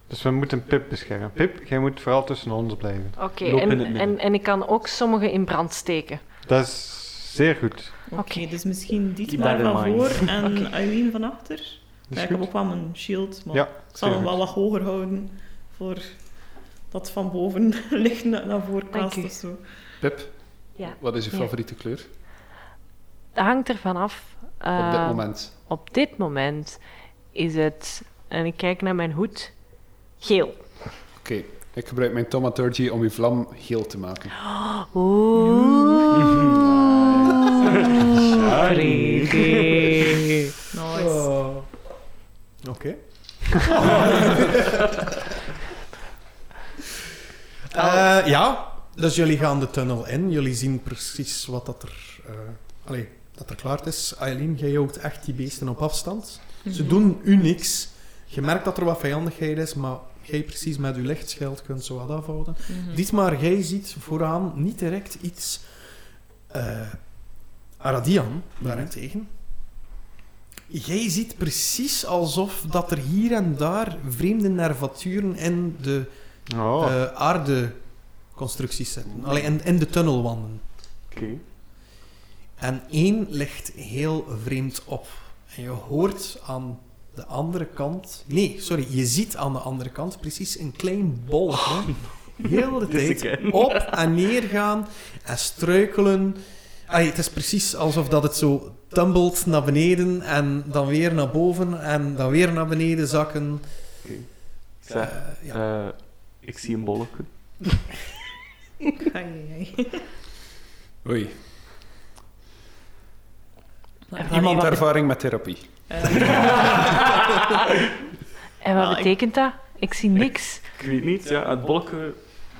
Dus we moeten Pip beschermen. Pip, jij moet vooral tussen ons blijven. Oh. Oké, Loop in het en, midden. en, en ik kan ook sommige in brand steken. Dat is zeer goed. Oké, dus misschien dit Keep maar that in van mind. voor en Eileen van achter. Dat Ja, is ik heb goed. ook wel mijn shield, maar Ja, ik zal hem goed. wel wat hoger houden voor dat van boven ligt na- naar voren Dank kaast u. of zo. Pip, Ja. wat is je Ja. favoriete kleur Dat hangt ervan af. op dit eh, moment? Op dit moment is het, en ik kijk naar mijn hoed, geel. Oké, ik gebruik mijn Tomaturgy om je vlam geel te maken. Oeh. Pretty. Nice. Oh. Oké. Oh. Eh, ja, dus jullie gaan de tunnel in. Jullie zien precies wat dat er, eh allee, dat er klaar is. Aileen, jij houdt echt die beesten op afstand. Ze doen u niks. Je merkt dat er wat vijandigheid is, maar jij precies met uw lichtschild kunt ze wat afhouden. Mhm. Ditmaar, jij ziet vooraan niet direct iets. eh Aradian, daarentegen. Jij ziet precies alsof dat er hier en daar vreemde nervaturen in de Oh, eh, aardeconstructies zitten. Allee, in, in de tunnelwanden. Oké. En één ligt heel vreemd op. En je hoort aan de andere kant... Nee, sorry. Je ziet aan de andere kant precies een klein bolkje. heel de Oh, Dit is tijd ik, hè. op en neer gaan en struikelen. Allee, het is precies alsof dat het zo tumbelt naar beneden en dan weer naar boven en dan weer naar beneden zakken. Ik zeg, Eh, ja. eh, ik zie een bolletje. Ai, ai, ai. Oei. Maar Iemand allee, Iemand wat- ervaring met therapie. Eh, En wat Nou, Ah, ik- betekent dat? Ik zie niks. Ik weet niet, ja, het bolletje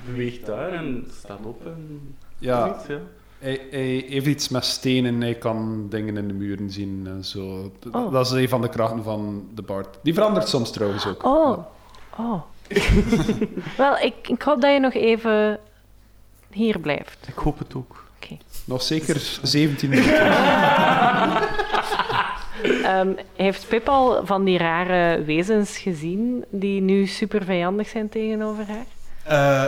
beweegt daar en staat op en Ja, zoiets, ja. Hij, hij heeft iets met stenen, hij kan dingen in de muren zien en zo. D- Oh. Dat is een van de krachten van de Bard. Die verandert soms trouwens ook. Oh. Oh. Wel, ik, ik hoop dat je nog even hier blijft. Ik hoop het ook. Nog zeker 17 minuten. Ehm, heeft Pip al van die rare wezens gezien die nu super vijandig zijn tegenover haar?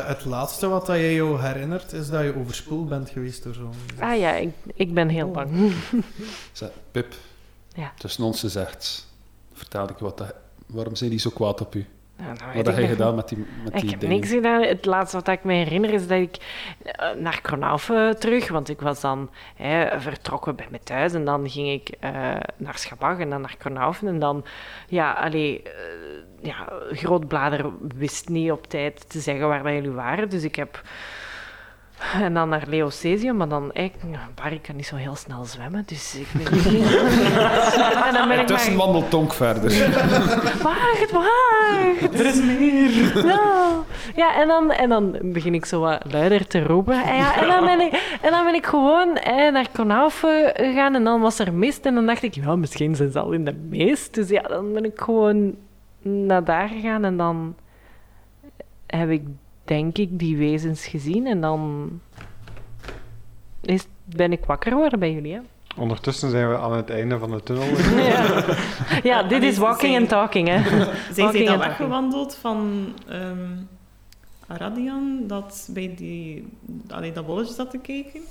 Eh, het laatste wat dat je jou herinnert, is dat je overspoeld bent geweest door zo'n... Ah ja, ik, ik ben Oh. heel bang. Zeg, Pip, Ja. tussen ons gezegd, vertel ik je wat dat, waarom zijn die zo kwaad op u? Nou, nou, Wat weet heb ik je nog gedaan met die, met Ik die heb dingen? niks gedaan. Het laatste wat ik me herinner is dat ik eh, naar Kronaufen terug, want ik was dan hè, vertrokken bij me thuis en dan ging ik eh, naar Schabach en dan naar Kronaufen en dan, ja, allee, eh, ja, Grootblader wist niet op tijd te zeggen waar dat jullie waren, dus ik heb... En dan naar Leocesium, maar dan, eh, ik, Barry kan niet zo heel snel zwemmen, dus ik ben niet... en dan ben ik Tussen maar... wandelt Tonk verder. Wacht, wacht! Er is meer! Nou, ja, en dan, en dan begin ik zo wat luider te roepen. En, ja, en, dan, ben ik, en dan ben ik gewoon eh, naar Konaufen gegaan en dan was er mist. En dan dacht ik, ja, misschien zijn ze al in de mist. Dus ja, dan ben ik gewoon naar daar gegaan en dan heb ik, denk ik, die wezens gezien. En dan is, ben ik wakker geworden bij jullie, hè? ondertussen zijn we aan het einde van de tunnel. Ja, ja dit is walking and talking, hè? Zijn zij Walking dan and weggewandeld van ehm Aradian, dat bij die, allee, dat bolletje zat te kijken?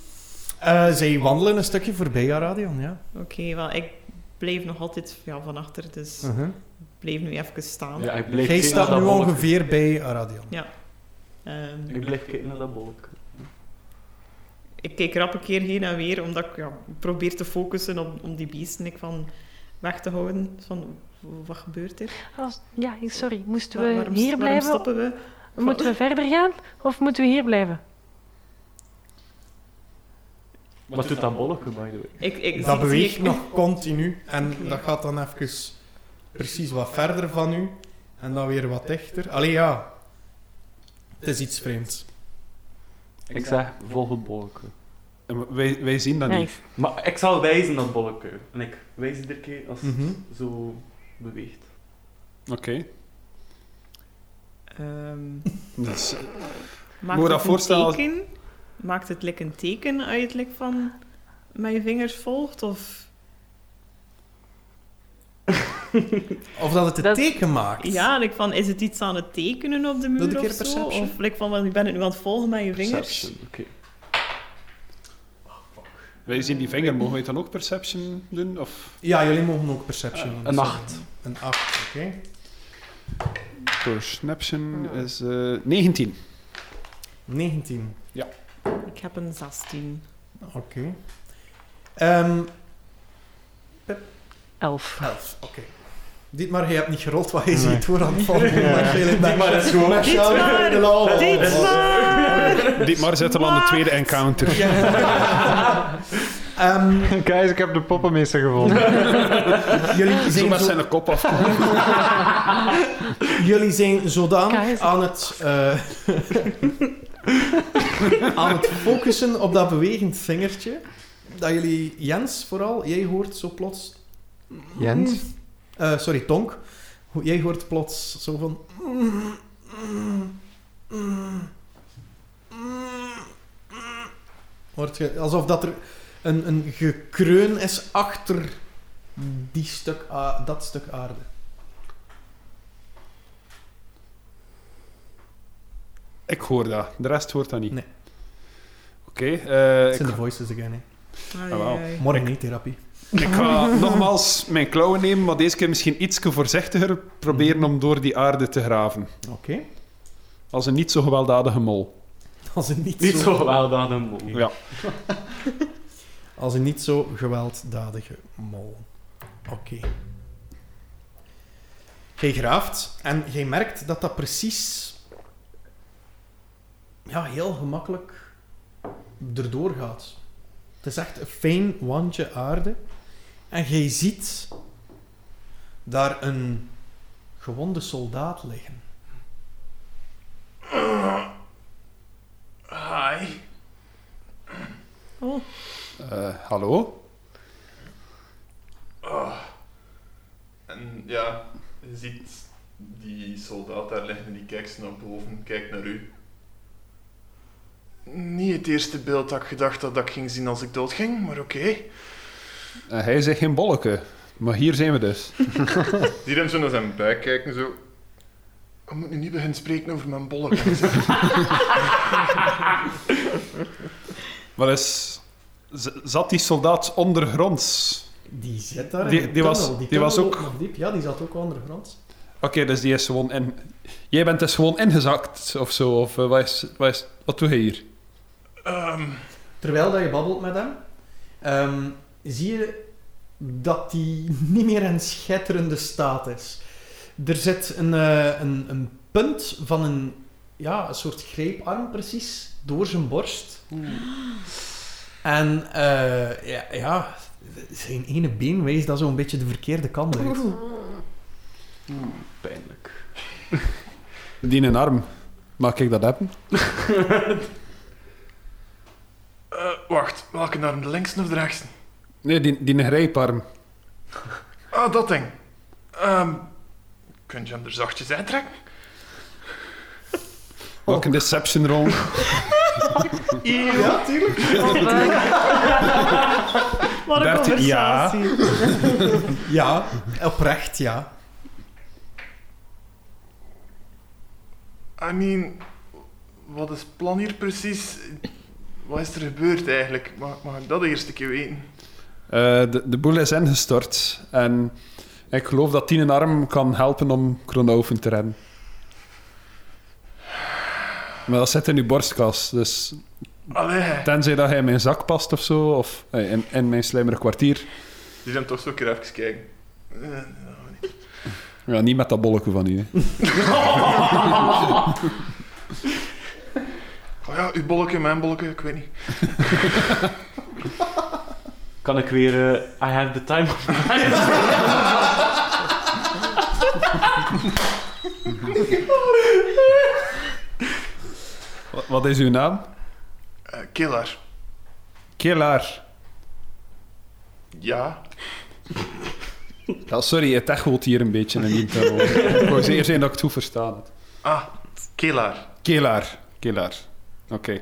Eh, zij wandelen een stukje voorbij Aradion, ja. Oké, wel, ik bleef nog altijd ja, van achter, dus Mhm. ik bleef nu even staan. Ja, ik blijf Jij kijken naar staat nu dat bolletje. ongeveer bij Aradion. Ehm, Ik blijf kijken naar dat bolletje. ik keek rap een keer heen en weer, omdat ik ja, probeer te focussen om, om die beesten ik van weg te houden. Van, w- wat gebeurt er? Oh, ja, sorry, moesten Wa- we waarom, hier waarom blijven? stoppen we? Moeten we verder gaan of moeten we hier blijven? Wat doet dat bolletje, by the way? Ik, ik, Dat zie, zie beweegt ik nog continu. En Oké. dat gaat dan even precies wat verder van u. En dan weer wat dichter. Allee, ja. Het is iets vreemds. Ik zeg, volg het bolletje. En wij, wij zien dat niet. Nice. Maar ik zal wijzen dat bolletje. En ik wijs iedere keer als het Mhm. zo beweegt. Oké. Ehm, Dus, maakt Moet je dat het een voorstellen als- teken? Maakt het like een teken uit like, van met je vingers volgt? Of... Of dat het een Dat- teken maakt. Ja, like van, is het iets aan het tekenen op de muur Doe een keer of zo? perception. Of like van, wel, je bent het nu aan het volgen met je vingers? Perception, oké. Oh, Wij zien die vinger, mogen wij dan ook perception doen? Of Ja, jullie mogen ook perception. doen. Eh, Een acht. Een 8, oké. perception is eh, 19. 19. Ik heb een 16. Oké. Ehm, Elf. elf, oké. Dietmar, jij hebt niet gerold wat je Nee. ziet hoor aan het vallen. Maar jullie Die maar is gewoon... Met jou Dietmar! in de lol. Dietmar! Dietmar zit al aan de tweede encounter. Ja. Ehm, Kijk, ik heb de poppenmeester gevonden. jullie, Zo zijn met zo, zijn kop af. jullie zijn zodanig Keizer. aan het, eh, aan het focussen op dat bewegend vingertje. Dat jullie, Jens vooral, jij hoort zo plots... Jens? Eh, sorry, Tonk. Ho- Jij hoort plots zo van... mm, mm, mm, mm, mm. Hoort je, alsof dat er een, een gekreun is achter die stuk, a- dat stuk aarde. Ik hoor dat. De rest hoort dat niet. Nee. Oké, eh, Het ik, zijn de voices again, hè. Ai, Ah, wauw. ai. Morgen niet, therapie. ik ga nogmaals mijn klauwen nemen, maar deze keer misschien iets voorzichtiger proberen om door die aarde te graven. Oké. Als een niet zo gewelddadige mol. Als een niet, Niet zo, zo wel dan een mol. Ja. Als een niet zo gewelddadige mol. Oké. Jij graaft en jij merkt dat dat precies... Ja, heel gemakkelijk erdoor gaat. Het is echt een fijn wandje aarde. En jij ziet daar een gewonde soldaat liggen. Hi. Oh, Eh, hallo? En ja, je ziet die soldaat daar liggen en die kijkt ze naar boven, kijkt naar u. Niet het eerste beeld dat ik gedacht had dat ik ging zien als ik doodging, maar oké. Eh, hij zegt geen bolleke. Maar hier zijn we dus. Die hem zo naar zijn buik kijken, zo. We moeten nu niet beginnen spreken over mijn bollen. Wat is... z- Zat die soldaat ondergronds? Die zit daar Die- in de die was- tunnel. die was tunnel ook- loopt nog diep. Ja, die zat ook ondergronds. Oké, dus die is gewoon in... Jij bent dus gewoon ingezakt of zo? Of eh, wat, is, wat, is, wat doe je hier? Ehm, Terwijl dat je babbelt met hem, ehm, zie je dat hij niet meer in schitterende staat is. Er zit een, eh, een, een punt van een, ja, een soort greeparm precies door zijn borst. En eh, ja, ja, zijn ene been wijst dat zo'n beetje de verkeerde kant uit. Pijnlijk. Die een arm. Mag ik dat hebben? eh, wacht, welke naar de linkse of de rechtse? Nee, die, die een grijparm. Ah, dat ding. Ehm kun je hem er zachtjes uittrekken? Welke deception roll? Ja, tuurlijk. wat een Bert, conversatie. ja. Ja, oprecht, ja. I mean, wat is het plan hier precies? Wat is er gebeurd eigenlijk? Mag, mag ik dat de eerste keer weten? Eh, de, de boel is ingestort. En ik geloof dat Tien een arm kan helpen om Kronoven te redden. Maar dat zit in uw borstkas. Dus Allee. tenzij dat hij in mijn zak past of zo, of eh, in, in mijn slijmere kwartier. Die zijn toch zo een keer even kijken. Eh, Ja, niet met dat bolletje van hier. hè. Oh ja, uw bolletje, mijn bolletje, ik weet niet. Kan ik weer... eh, I have the time of my life. Wa- Wat is uw naam? Eh killer. Kelaar. Ja. Ja, sorry, het echoot hier een beetje in die tunnel. Ik wou zeker zijn dat ik het goed verstaan had. Ah, killer. Kelaar. Kelaar. Oké.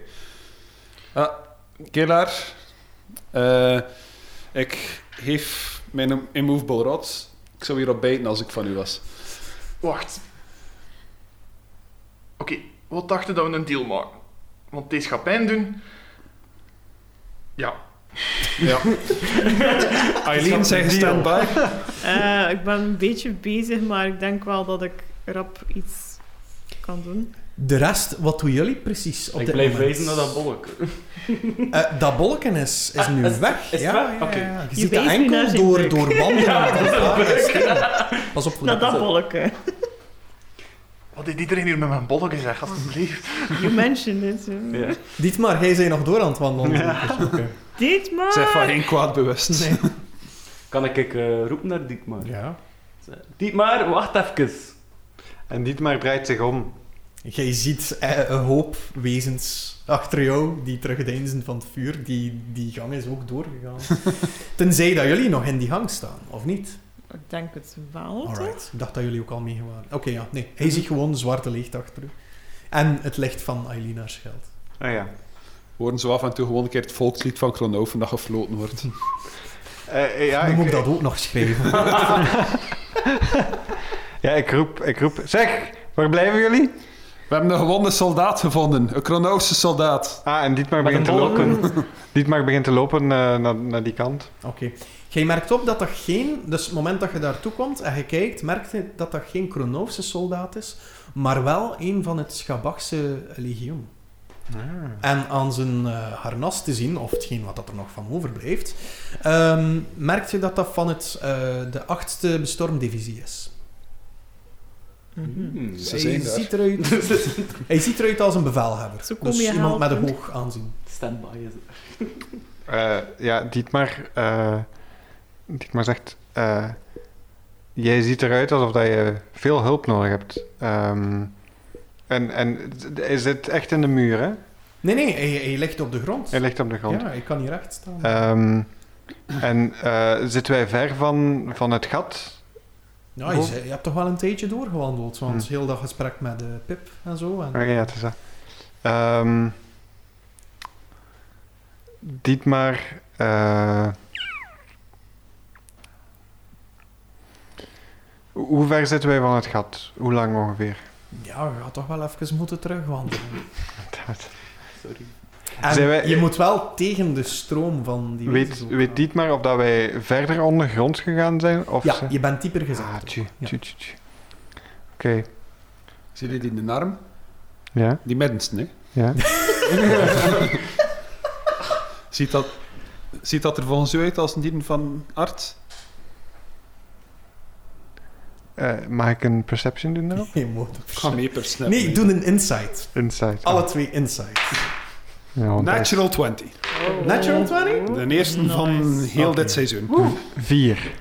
Ah, Kelaar. Eh, ik geef mijn immovable rod. Ik zou hierop bijten als ik van u was. Wacht. Oké, wat dachten dat we een deal maken? Want deze gaat pijn doen. Ja. Eileen, zijn stand-by. Eh, ik ben een beetje bezig, maar ik denk wel dat ik rap iets kan doen. De rest, wat doen jullie precies op Ik dit blijf moment? wijzen naar dat bolk. Eh, dat bolken is, is Ah, nu is het- weg. is het ja, weg? ja, ja, Oké. ja. Je Je ziet dat wijst nu naar enkel zijn door, buik. door banden. van zware stenen. Pas op eh, voor Naar dat bol. bolleke. Wat heeft iedereen hier met mijn bollen gezegd, alstublieft? You mentioned it. eh. Ja. Dietmar, jij bent nog door aan het wandelen. Dit maar! Zeg van geen kwaad bewust. Nee. Kan ik eh, roepen naar Dietmar? Ja. Dietmar, wacht even. En Dietmar draait zich om. Jij ziet eh, een hoop wezens achter jou die terugdeinzen van het vuur. Die, die gang is ook doorgegaan. Tenzij dat jullie nog in die gang staan, of niet? Ik denk het wel. toch? Alright. Ik dacht dat jullie ook al mee waren. Oké, ja. Nee, hij Mhm. ziet gewoon zwarte licht achter u. En het licht van Eileen haar schild. Ah ja. Worden zo af en toe gewoon een keer het volkslied van Klonoven dat gefloten wordt. Eh, eh, ja, Dan ik, moet ik dat ook nog schrijven. ja, ik roep, ik roep. Zeg, waar blijven jullie? We hebben een gewonde soldaat gevonden. Een Kronoofse soldaat. Ah, en Dietmar Met een begint te bolk. lopen. Dietmar begint te lopen eh, naar, naar die kant. Oké. Jij merkt op dat dat geen... Dus het moment dat je daartoe komt en je kijkt, merkt je dat dat geen Kronovse soldaat is, maar wel een van het Schabachse legioen. En aan zijn eh, harnas te zien, of hetgeen wat dat er nog van overblijft, ehm, merk je dat dat van het, eh, de achtste bestormdivisie is. Mhm. Hmm. Ze Hij zijn daar. ziet, eruit, hij ziet eruit als een bevelhebber. Zo kom dus je iemand met een helpen. hoog aanzien. Standby is het. Eh, ja, Dietmar, eh, Dietmar zegt: eh, Jij ziet eruit alsof dat je veel hulp nodig hebt. Ehm, en, en is het echt in de muur, hè? Nee, nee, hij, hij ligt op de grond. Hij ligt op de grond. Ja, hij kan hier recht staan. Ehm, en eh, zitten wij ver van, van het gat? Ja, je, Hoe- zei- je hebt toch wel een tijdje doorgewandeld, want heel dat gesprek met eh, Pip en zo. En... Oké, Hm. ja, het is dat. Ehm, Dietmar... eh, hoe ver zitten wij van het gat? Hoe lang ongeveer? Ja, je gaat toch wel even moeten terugwandelen. Sorry. En Zijn wij- je moet wel tegen de stroom van die wezens Weet, ook weet gaan. Dietmar of dat wij verder ondergronds gegaan zijn? Of Ja, ze- je bent dieper gezet. Ah, tju, Ja. tju, tju, tju. Oké, Zie je die in de arm? ja, Die middenste, hè? ja. Ziet dat, ziet dat er volgens u uit als een dieren van Art? Eh, mag ik een perception doen daarop? Je moet op- Ga mee per snap. Nee, doe een insight. Insight. Alle twee insights. Ah, Ja, want hij is Natural 20. Oh. Natural Eh, 20? De eerste Nice. van heel Oké. dit seizoen. Vier.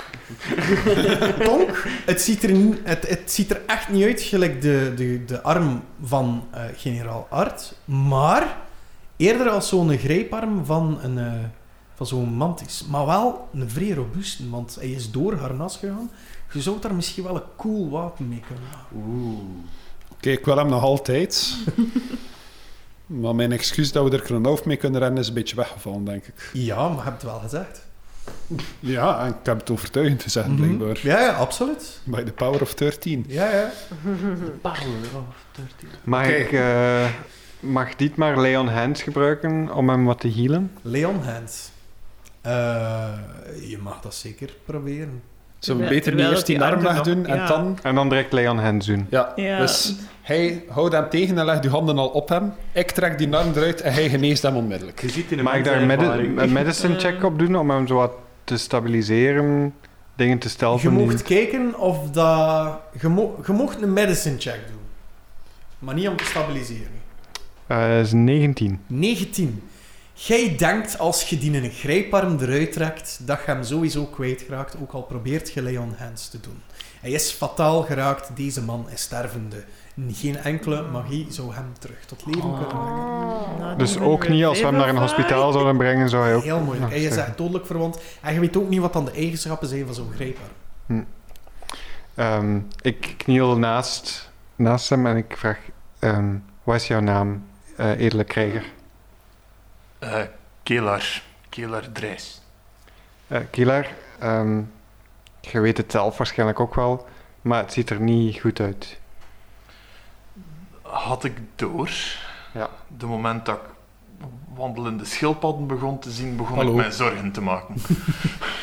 Tonk, het ziet, er, niet- het, het ziet er echt niet uit gelijk de, de, de arm van eh, generaal Art, maar eerder als zo'n grijparm van, een, eh, van zo'n mantis. Maar wel een vrij robuuste, want hij is door harnas gegaan. Je zou daar misschien wel een cool wapen mee kunnen maken. Oké, ik wil hem nog altijd. maar mijn excuus dat we er Kronoof mee kunnen rennen is een beetje weggevallen, denk ik. Ja, maar je hebt het wel gezegd. Ja, en ik heb het overtuigend gezegd, blijkbaar. Mhm. Ja, ja, absoluut. By the power of 13. Ja, ja. Power of 13. Mag, Oké. ik, eh, mag Dietmar Leon Hands gebruiken om hem wat te healen? Leon Hand. Eh, je mag dat zeker proberen. Zullen we Terwijl- beter niet terwijl eerst die die arm arm er wegdoen nog- en ja. dan... En dan direct Leon Hands doen. Ja, Ja. dus hij houdt hem tegen en legt uw handen al op hem. Ik trek die arm eruit en hij geneest hem onmiddellijk. Je ziet in de Mag ik daar mensen medi- ervaring. een medicine check op doen om hem zo wat te stabiliseren? Dingen te stellen? Je mocht kijken of dat... Je, mo- je mocht een medicine check doen. Maar niet om te stabiliseren. Eh, is 19. 19. Jij denkt als je die in een grijparm eruit trekt, dat je hem sowieso kwijtraakt, ook al probeert je Leon Hands te doen. Hij is fataal geraakt, deze man is stervende. Geen enkele magie zou hem terug tot Oh. leven kunnen wekken. Nou, Dus die ook zijn niet weer als we hem naar een vijf of hospitaal zouden brengen, zou hij ook Heel moeilijk. Ja, Hij is zeker. echt dodelijk verwond. En je weet ook niet wat dan de eigenschappen zijn van zo'n grijparm. Ehm, ik kniel naast, naast hem en ik vraag: ehm, Wat is jouw naam, eh edele krijger? Eh, Kelaar. Killer Dres. Eh Kilar, ehm, je weet het zelf waarschijnlijk ook wel, maar het ziet er niet goed uit. Had ik door. Ja. De moment dat ik wandelende schildpadden begon te zien, begon Hallo. ik mij zorgen te maken.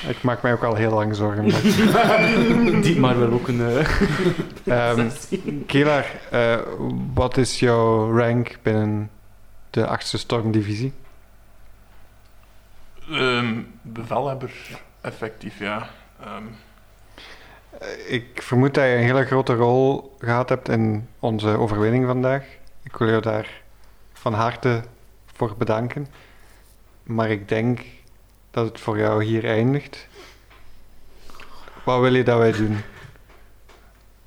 Ik maak mij ook al heel lang zorgen. maar- Die maar wel ook een. eh, Ehm Kilar, eh, wat is jouw rank binnen de 8e Stormdivisie? Ehm, bevelhebber, effectief, ja. Ehm, Eh, Ik vermoed dat je een hele grote rol gehad hebt in onze overwinning vandaag. Ik wil jou daar van harte voor bedanken. Maar ik denk dat het voor jou hier eindigt. Wat wil je dat wij doen?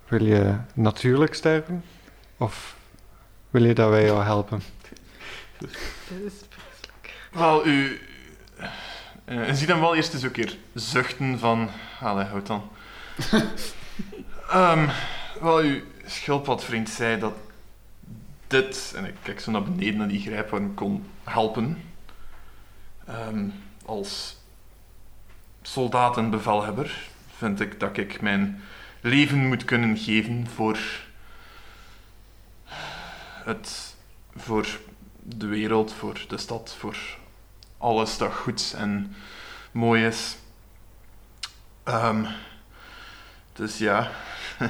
Wil je natuurlijk sterven? Of wil je dat wij jou helpen? Wel, u. eh, zie dan wel eerst eens een keer zuchten van. Allee, houd dan. Ehm, wel, uw schildpadvriend zei dat dit, en ik kijk zo naar beneden naar die grijpworm, kon helpen. Ehm, als soldaat en bevelhebber vind ik dat ik mijn leven moet kunnen geven voor het. voor de wereld, voor de stad, voor alles dat goed en mooi is. Ehm, dus ja,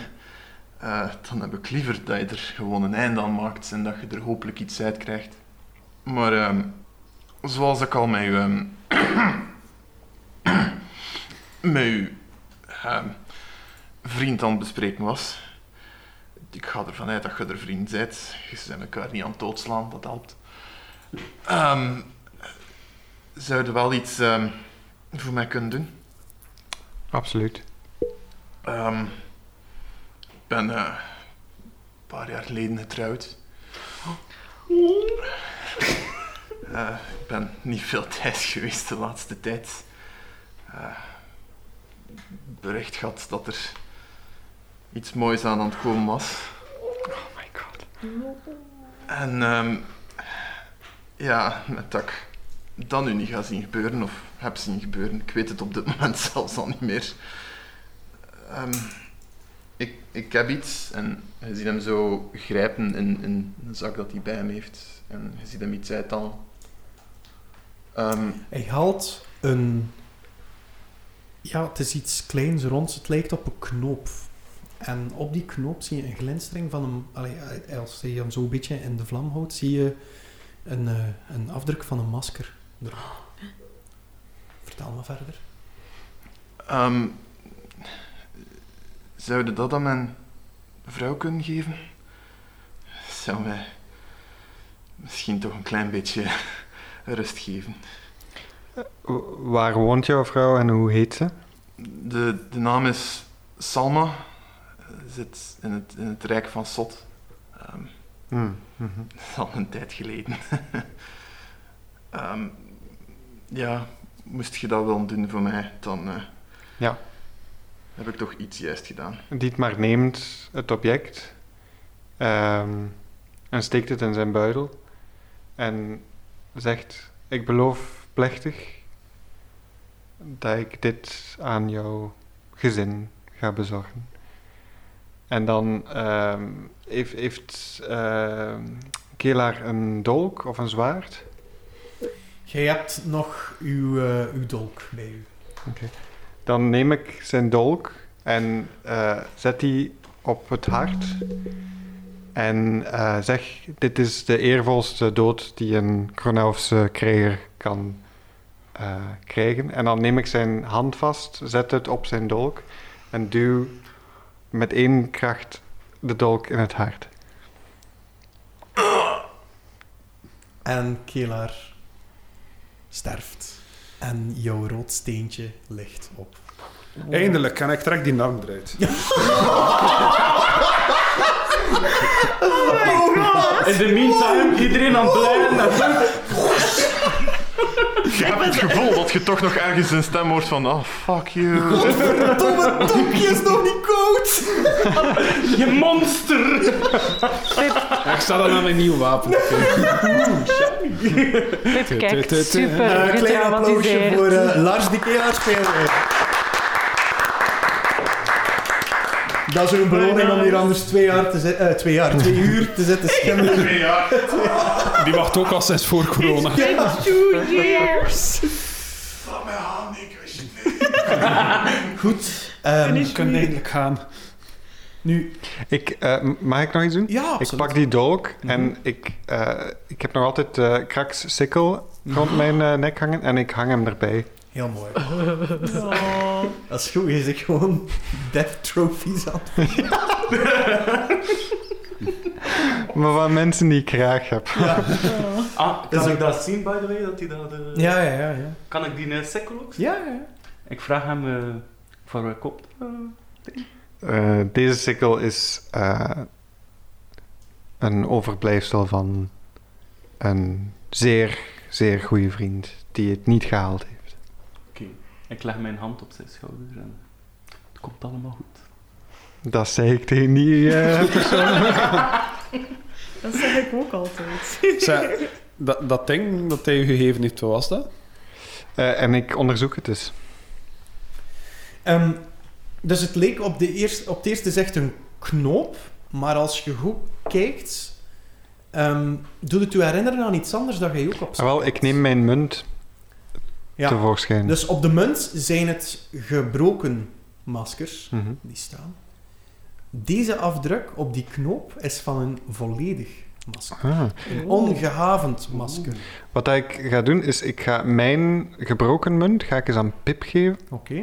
eh, dan heb ik liever dat je er gewoon een einde aan maakt en dat je er hopelijk iets uit krijgt. Maar ehm, zoals ik al met u, ehm, met u ehm, vriend aan het bespreken was, ik ga ervan uit dat je er vriend bent. Je bent elkaar niet aan het doodslaan, dat helpt. Ehm zou je wel iets ehm, voor mij kunnen doen? Absoluut. Ehm, ik ben eh, een paar jaar geleden getrouwd. Oh. Eh, ik ben niet veel thuis geweest de laatste tijd. Eh, bericht gehad dat er iets moois aan aan het komen was. Oh my god. En ehm, ja, met dat ik dat nu niet ga zien gebeuren of heb zien gebeuren. Ik weet het op dit moment zelfs al niet meer. Ehm, ik, ik heb iets en je ziet hem zo grijpen in, in een zak dat hij bij hem heeft. En je ziet hem iets uit dan. Ehm, Hij haalt een... Ja, het is iets kleins ronds. Het lijkt op een knoop. En op die knoop zie je een glinstering van een... Allee, als je hem zo'n beetje in de vlam houdt, zie je een, eh, een afdruk van een masker. erop. Vertel me verder. ehm, zou je dat aan mijn vrouw kunnen geven? Zou mij misschien toch een klein beetje rust geven. W- waar woont jouw vrouw en hoe heet ze? De, de naam is Salma. Zit in het, in het Rijk van Sot. Ehm, Hmm, mhm. Dat is al een tijd geleden. Ehm, ja, moest je dat wel doen voor mij, dan eh, Ja. heb ik toch iets juist gedaan. Dietmar neemt het object ehm, en steekt het in zijn buidel en zegt: Ik beloof plechtig dat ik dit aan jouw gezin ga bezorgen. En dan ehm, heeft, heeft ehm, Kelaar een dolk of een zwaard. Jij hebt nog uw, eh, uw dolk bij u. Dan neem ik zijn dolk en eh, zet die op het hart. En eh, zeg, dit is de eervolste dood die een Kronelfse krijger kan eh, krijgen. En dan neem ik zijn hand vast, zet het op zijn dolk en duw met één kracht de dolk in het hart. En Kelaar sterft. En jouw rood steentje ligt op. Eindelijk, en ik trek die arm eruit. Oh In the meantime, iedereen aan het blijven. Je hebt het gevoel dat je toch nog ergens een stem hoort van, oh fuck you. Domme topje is nog niet koud! Je monster! Pip, Ik sta dan aan een nieuw wapen. Dit kijkt Tut, tut, tut. super Eh, uh, klein Klein applausje voor eh, Lars die keer spelen. Dat is een beloning om hier anders twee jaar te zitten. twee jaar, twee uur te zitten schimmelen. Die wacht ook al sinds voor corona. Two years! Laat mij aan, ik wist het niet. Goed. ehm, Finish me. gaan. nu. Ik, eh, m- mag ik nog iets doen? Ja, ik absoluut. pak die dolk en ik, eh, ik heb nog altijd eh kraks sikkel rond mijn eh, nek hangen en ik hang hem erbij. Heel mooi. Oh. Dat is goed, je zit gewoon death trophies aan. Maar van mensen die ik graag heb. Ah, Dat is kan ook- ik dat zien, by the way? Dat hij dat, eh, Ja, ja, ja. Ja, Kan ik die uh, sekkel ook zien? ja. ja. Ik vraag hem eh, voor wat kop. Eh, deze sikkel is eh, een overblijfsel van een zeer, zeer goede vriend die het niet gehaald heeft. Oké. Ik leg mijn hand op zijn schouder en het komt allemaal goed. Dat zei ik tegen die eh, Dat zeg ik ook altijd. Zeg, dat, dat ding dat hij u gegeven heeft, wat was dat? eh, en ik onderzoek het dus. Ehm, dus het leek op, de eerste, op het eerste zicht een knoop, maar als je goed kijkt, ehm doet het je herinneren aan iets anders dat je ook op Ah, wel, ik neem mijn munt Ja. tevoorschijn. Dus op de munt zijn het gebroken maskers Mhm. die staan. Deze afdruk op die knoop is van een volledig masker. Ah. Een ongehavend masker. Wat dat ik ga doen is, ik ga mijn gebroken munt ga ik eens aan Pip geven. Oké.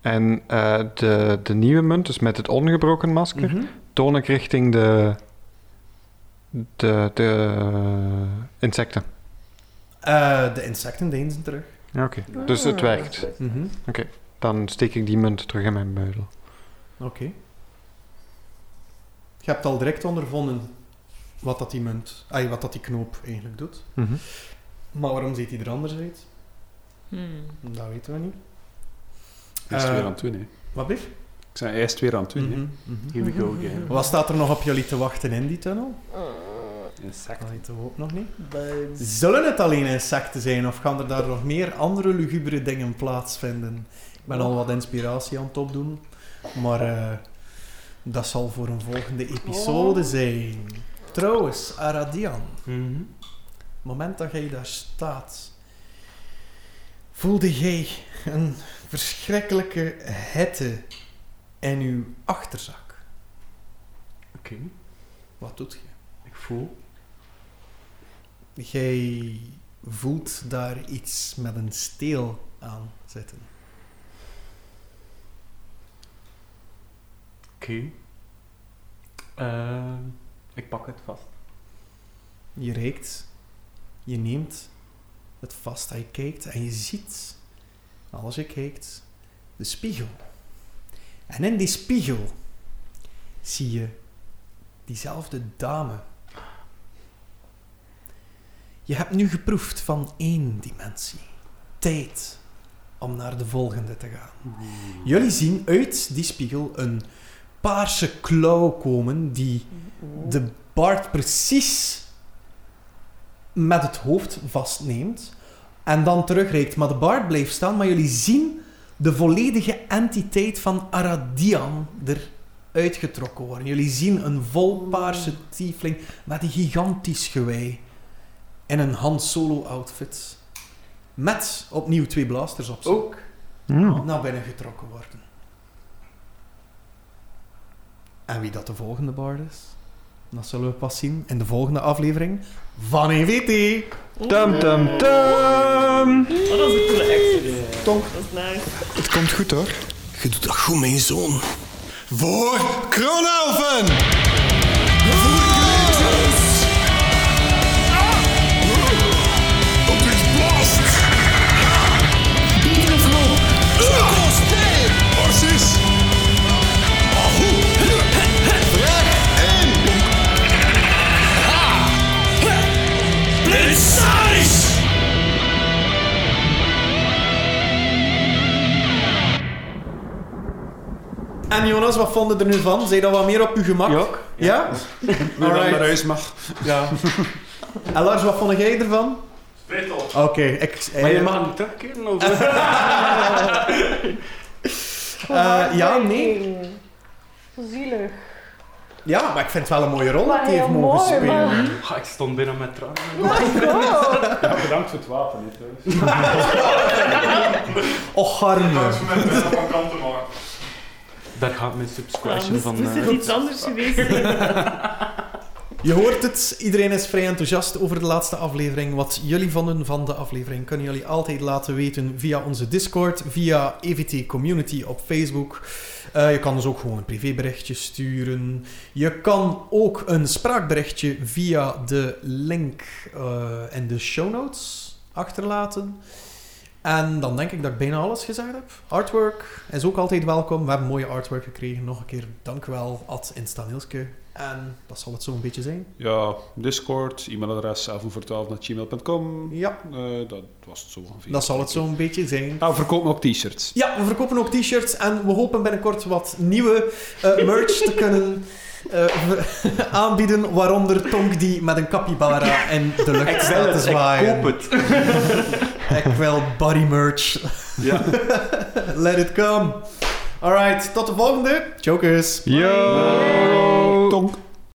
En eh, de, de nieuwe munt, dus met het ongebroken masker, Mhm. toon ik richting de, de, de insecten. Eh, de insecten deinzen terug. Ja, Oké, dus het werkt. Mhm. Dan steek ik die munt terug in mijn buidel. Oké. Je hebt al direct ondervonden wat dat die munt, ai, wat dat die knoop eigenlijk doet. Mhm. Maar waarom ziet hij er anders uit? Hmm. Dat weten we niet. Hij is het Eh, weer aan het doen, hè. Wat blieft? Ik zei, hij is het weer aan het doen, hè. Mhm, mhm. Here we go again. Wat staat er nog op jullie te wachten in die tunnel? Insect. Dat weten we ook nog niet. Zullen het alleen insecten zijn of gaan er daar nog meer andere lugubere dingen plaatsvinden? Ik ben al wat inspiratie aan het opdoen, maar eh, dat zal voor een volgende episode zijn. Trouwens, Aradian, het moment dat jij daar staat, voelde jij een verschrikkelijke hitte in uw achterzak. Oké. Wat doet je? Ik voel. Jij voelt daar iets met een steel aan zitten. Oké. Eh, ik pak het vast. Je reikt, je neemt het vast, hij kijkt en je ziet, als je kijkt, de spiegel. En in die spiegel zie je diezelfde dame. Je hebt nu geproefd van één dimensie. Tijd om naar de volgende te gaan. Jullie zien uit die spiegel een paarse klauw komen die de Bart precies met het hoofd vastneemt en dan terugreikt. Maar de Bart blijft staan, maar jullie zien de volledige entiteit van Aradian eruit getrokken worden. Jullie zien een vol paarse tiefling met een gigantisch gewei en een Han Solo outfit. Met opnieuw twee blasters op zich Ook. naar binnen getrokken worden. En wie dat de volgende bard is, dat zullen we pas zien in de volgende aflevering van EVT. Dum, dum, dum! Oh, dat is een coole extra. Tonk. Dat is nice. Het komt goed hoor. Je doet dat goed, mijn zoon. Voor Kronalven! Voor Kratos! Op dit blast! Beter vloer! Kratos, nee! Precies! Blitz! En En Jonas, wat vonden er nu van? Zijn dat wat meer op uw gemak? Jok? Ja? Nu dan Alright. naar huis mag. Ja. En Lars, wat vond jij ervan? Spijt op. Oké, ik... Maar je eh, mag hem niet terugkeren of... eh, ja, nee. Zielig. Ja, maar ik vind het wel een mooie rol dat Maar hij heeft heel mogen mooi, Oh spelen. maar- Ah, ik stond binnen met tranen. bedankt voor het wapen. Och, arme. Daar gaat mijn subscription moest, van... moest eh, het iets anders geweest zijn? Je hoort het, iedereen is vrij enthousiast over de laatste aflevering. Wat jullie vonden van de aflevering kunnen jullie altijd laten weten via onze Discord, via EVT Community op Facebook. Eh, je kan dus ook gewoon een privéberichtje sturen. Je kan ook een spraakberichtje via de link eh, in de show notes achterlaten. En dan denk ik dat ik bijna alles gezegd heb. Artwork is ook altijd welkom. We hebben mooie artwork gekregen. Nog een keer dank u wel, Ad Instanielske. En dat zal het zo'n beetje zijn. Ja, Discord, e-mailadres, avoever12.gmail.com. Ja, Eh dat was het zo ongeveer. dat zal het zo'n beetje zijn. Ah, we verkopen ook t-shirts. Ja, we verkopen ook t-shirts en we hopen binnenkort wat nieuwe eh, merch te kunnen eh, ver- aanbieden. Waaronder Tonk die met een capybara in de lucht Ik wil staat te het, ik zwaaien. koop het. Ik wil body merch. Ja. Let it come. Alright, tot de volgende. Chokers. Yo! Tonk.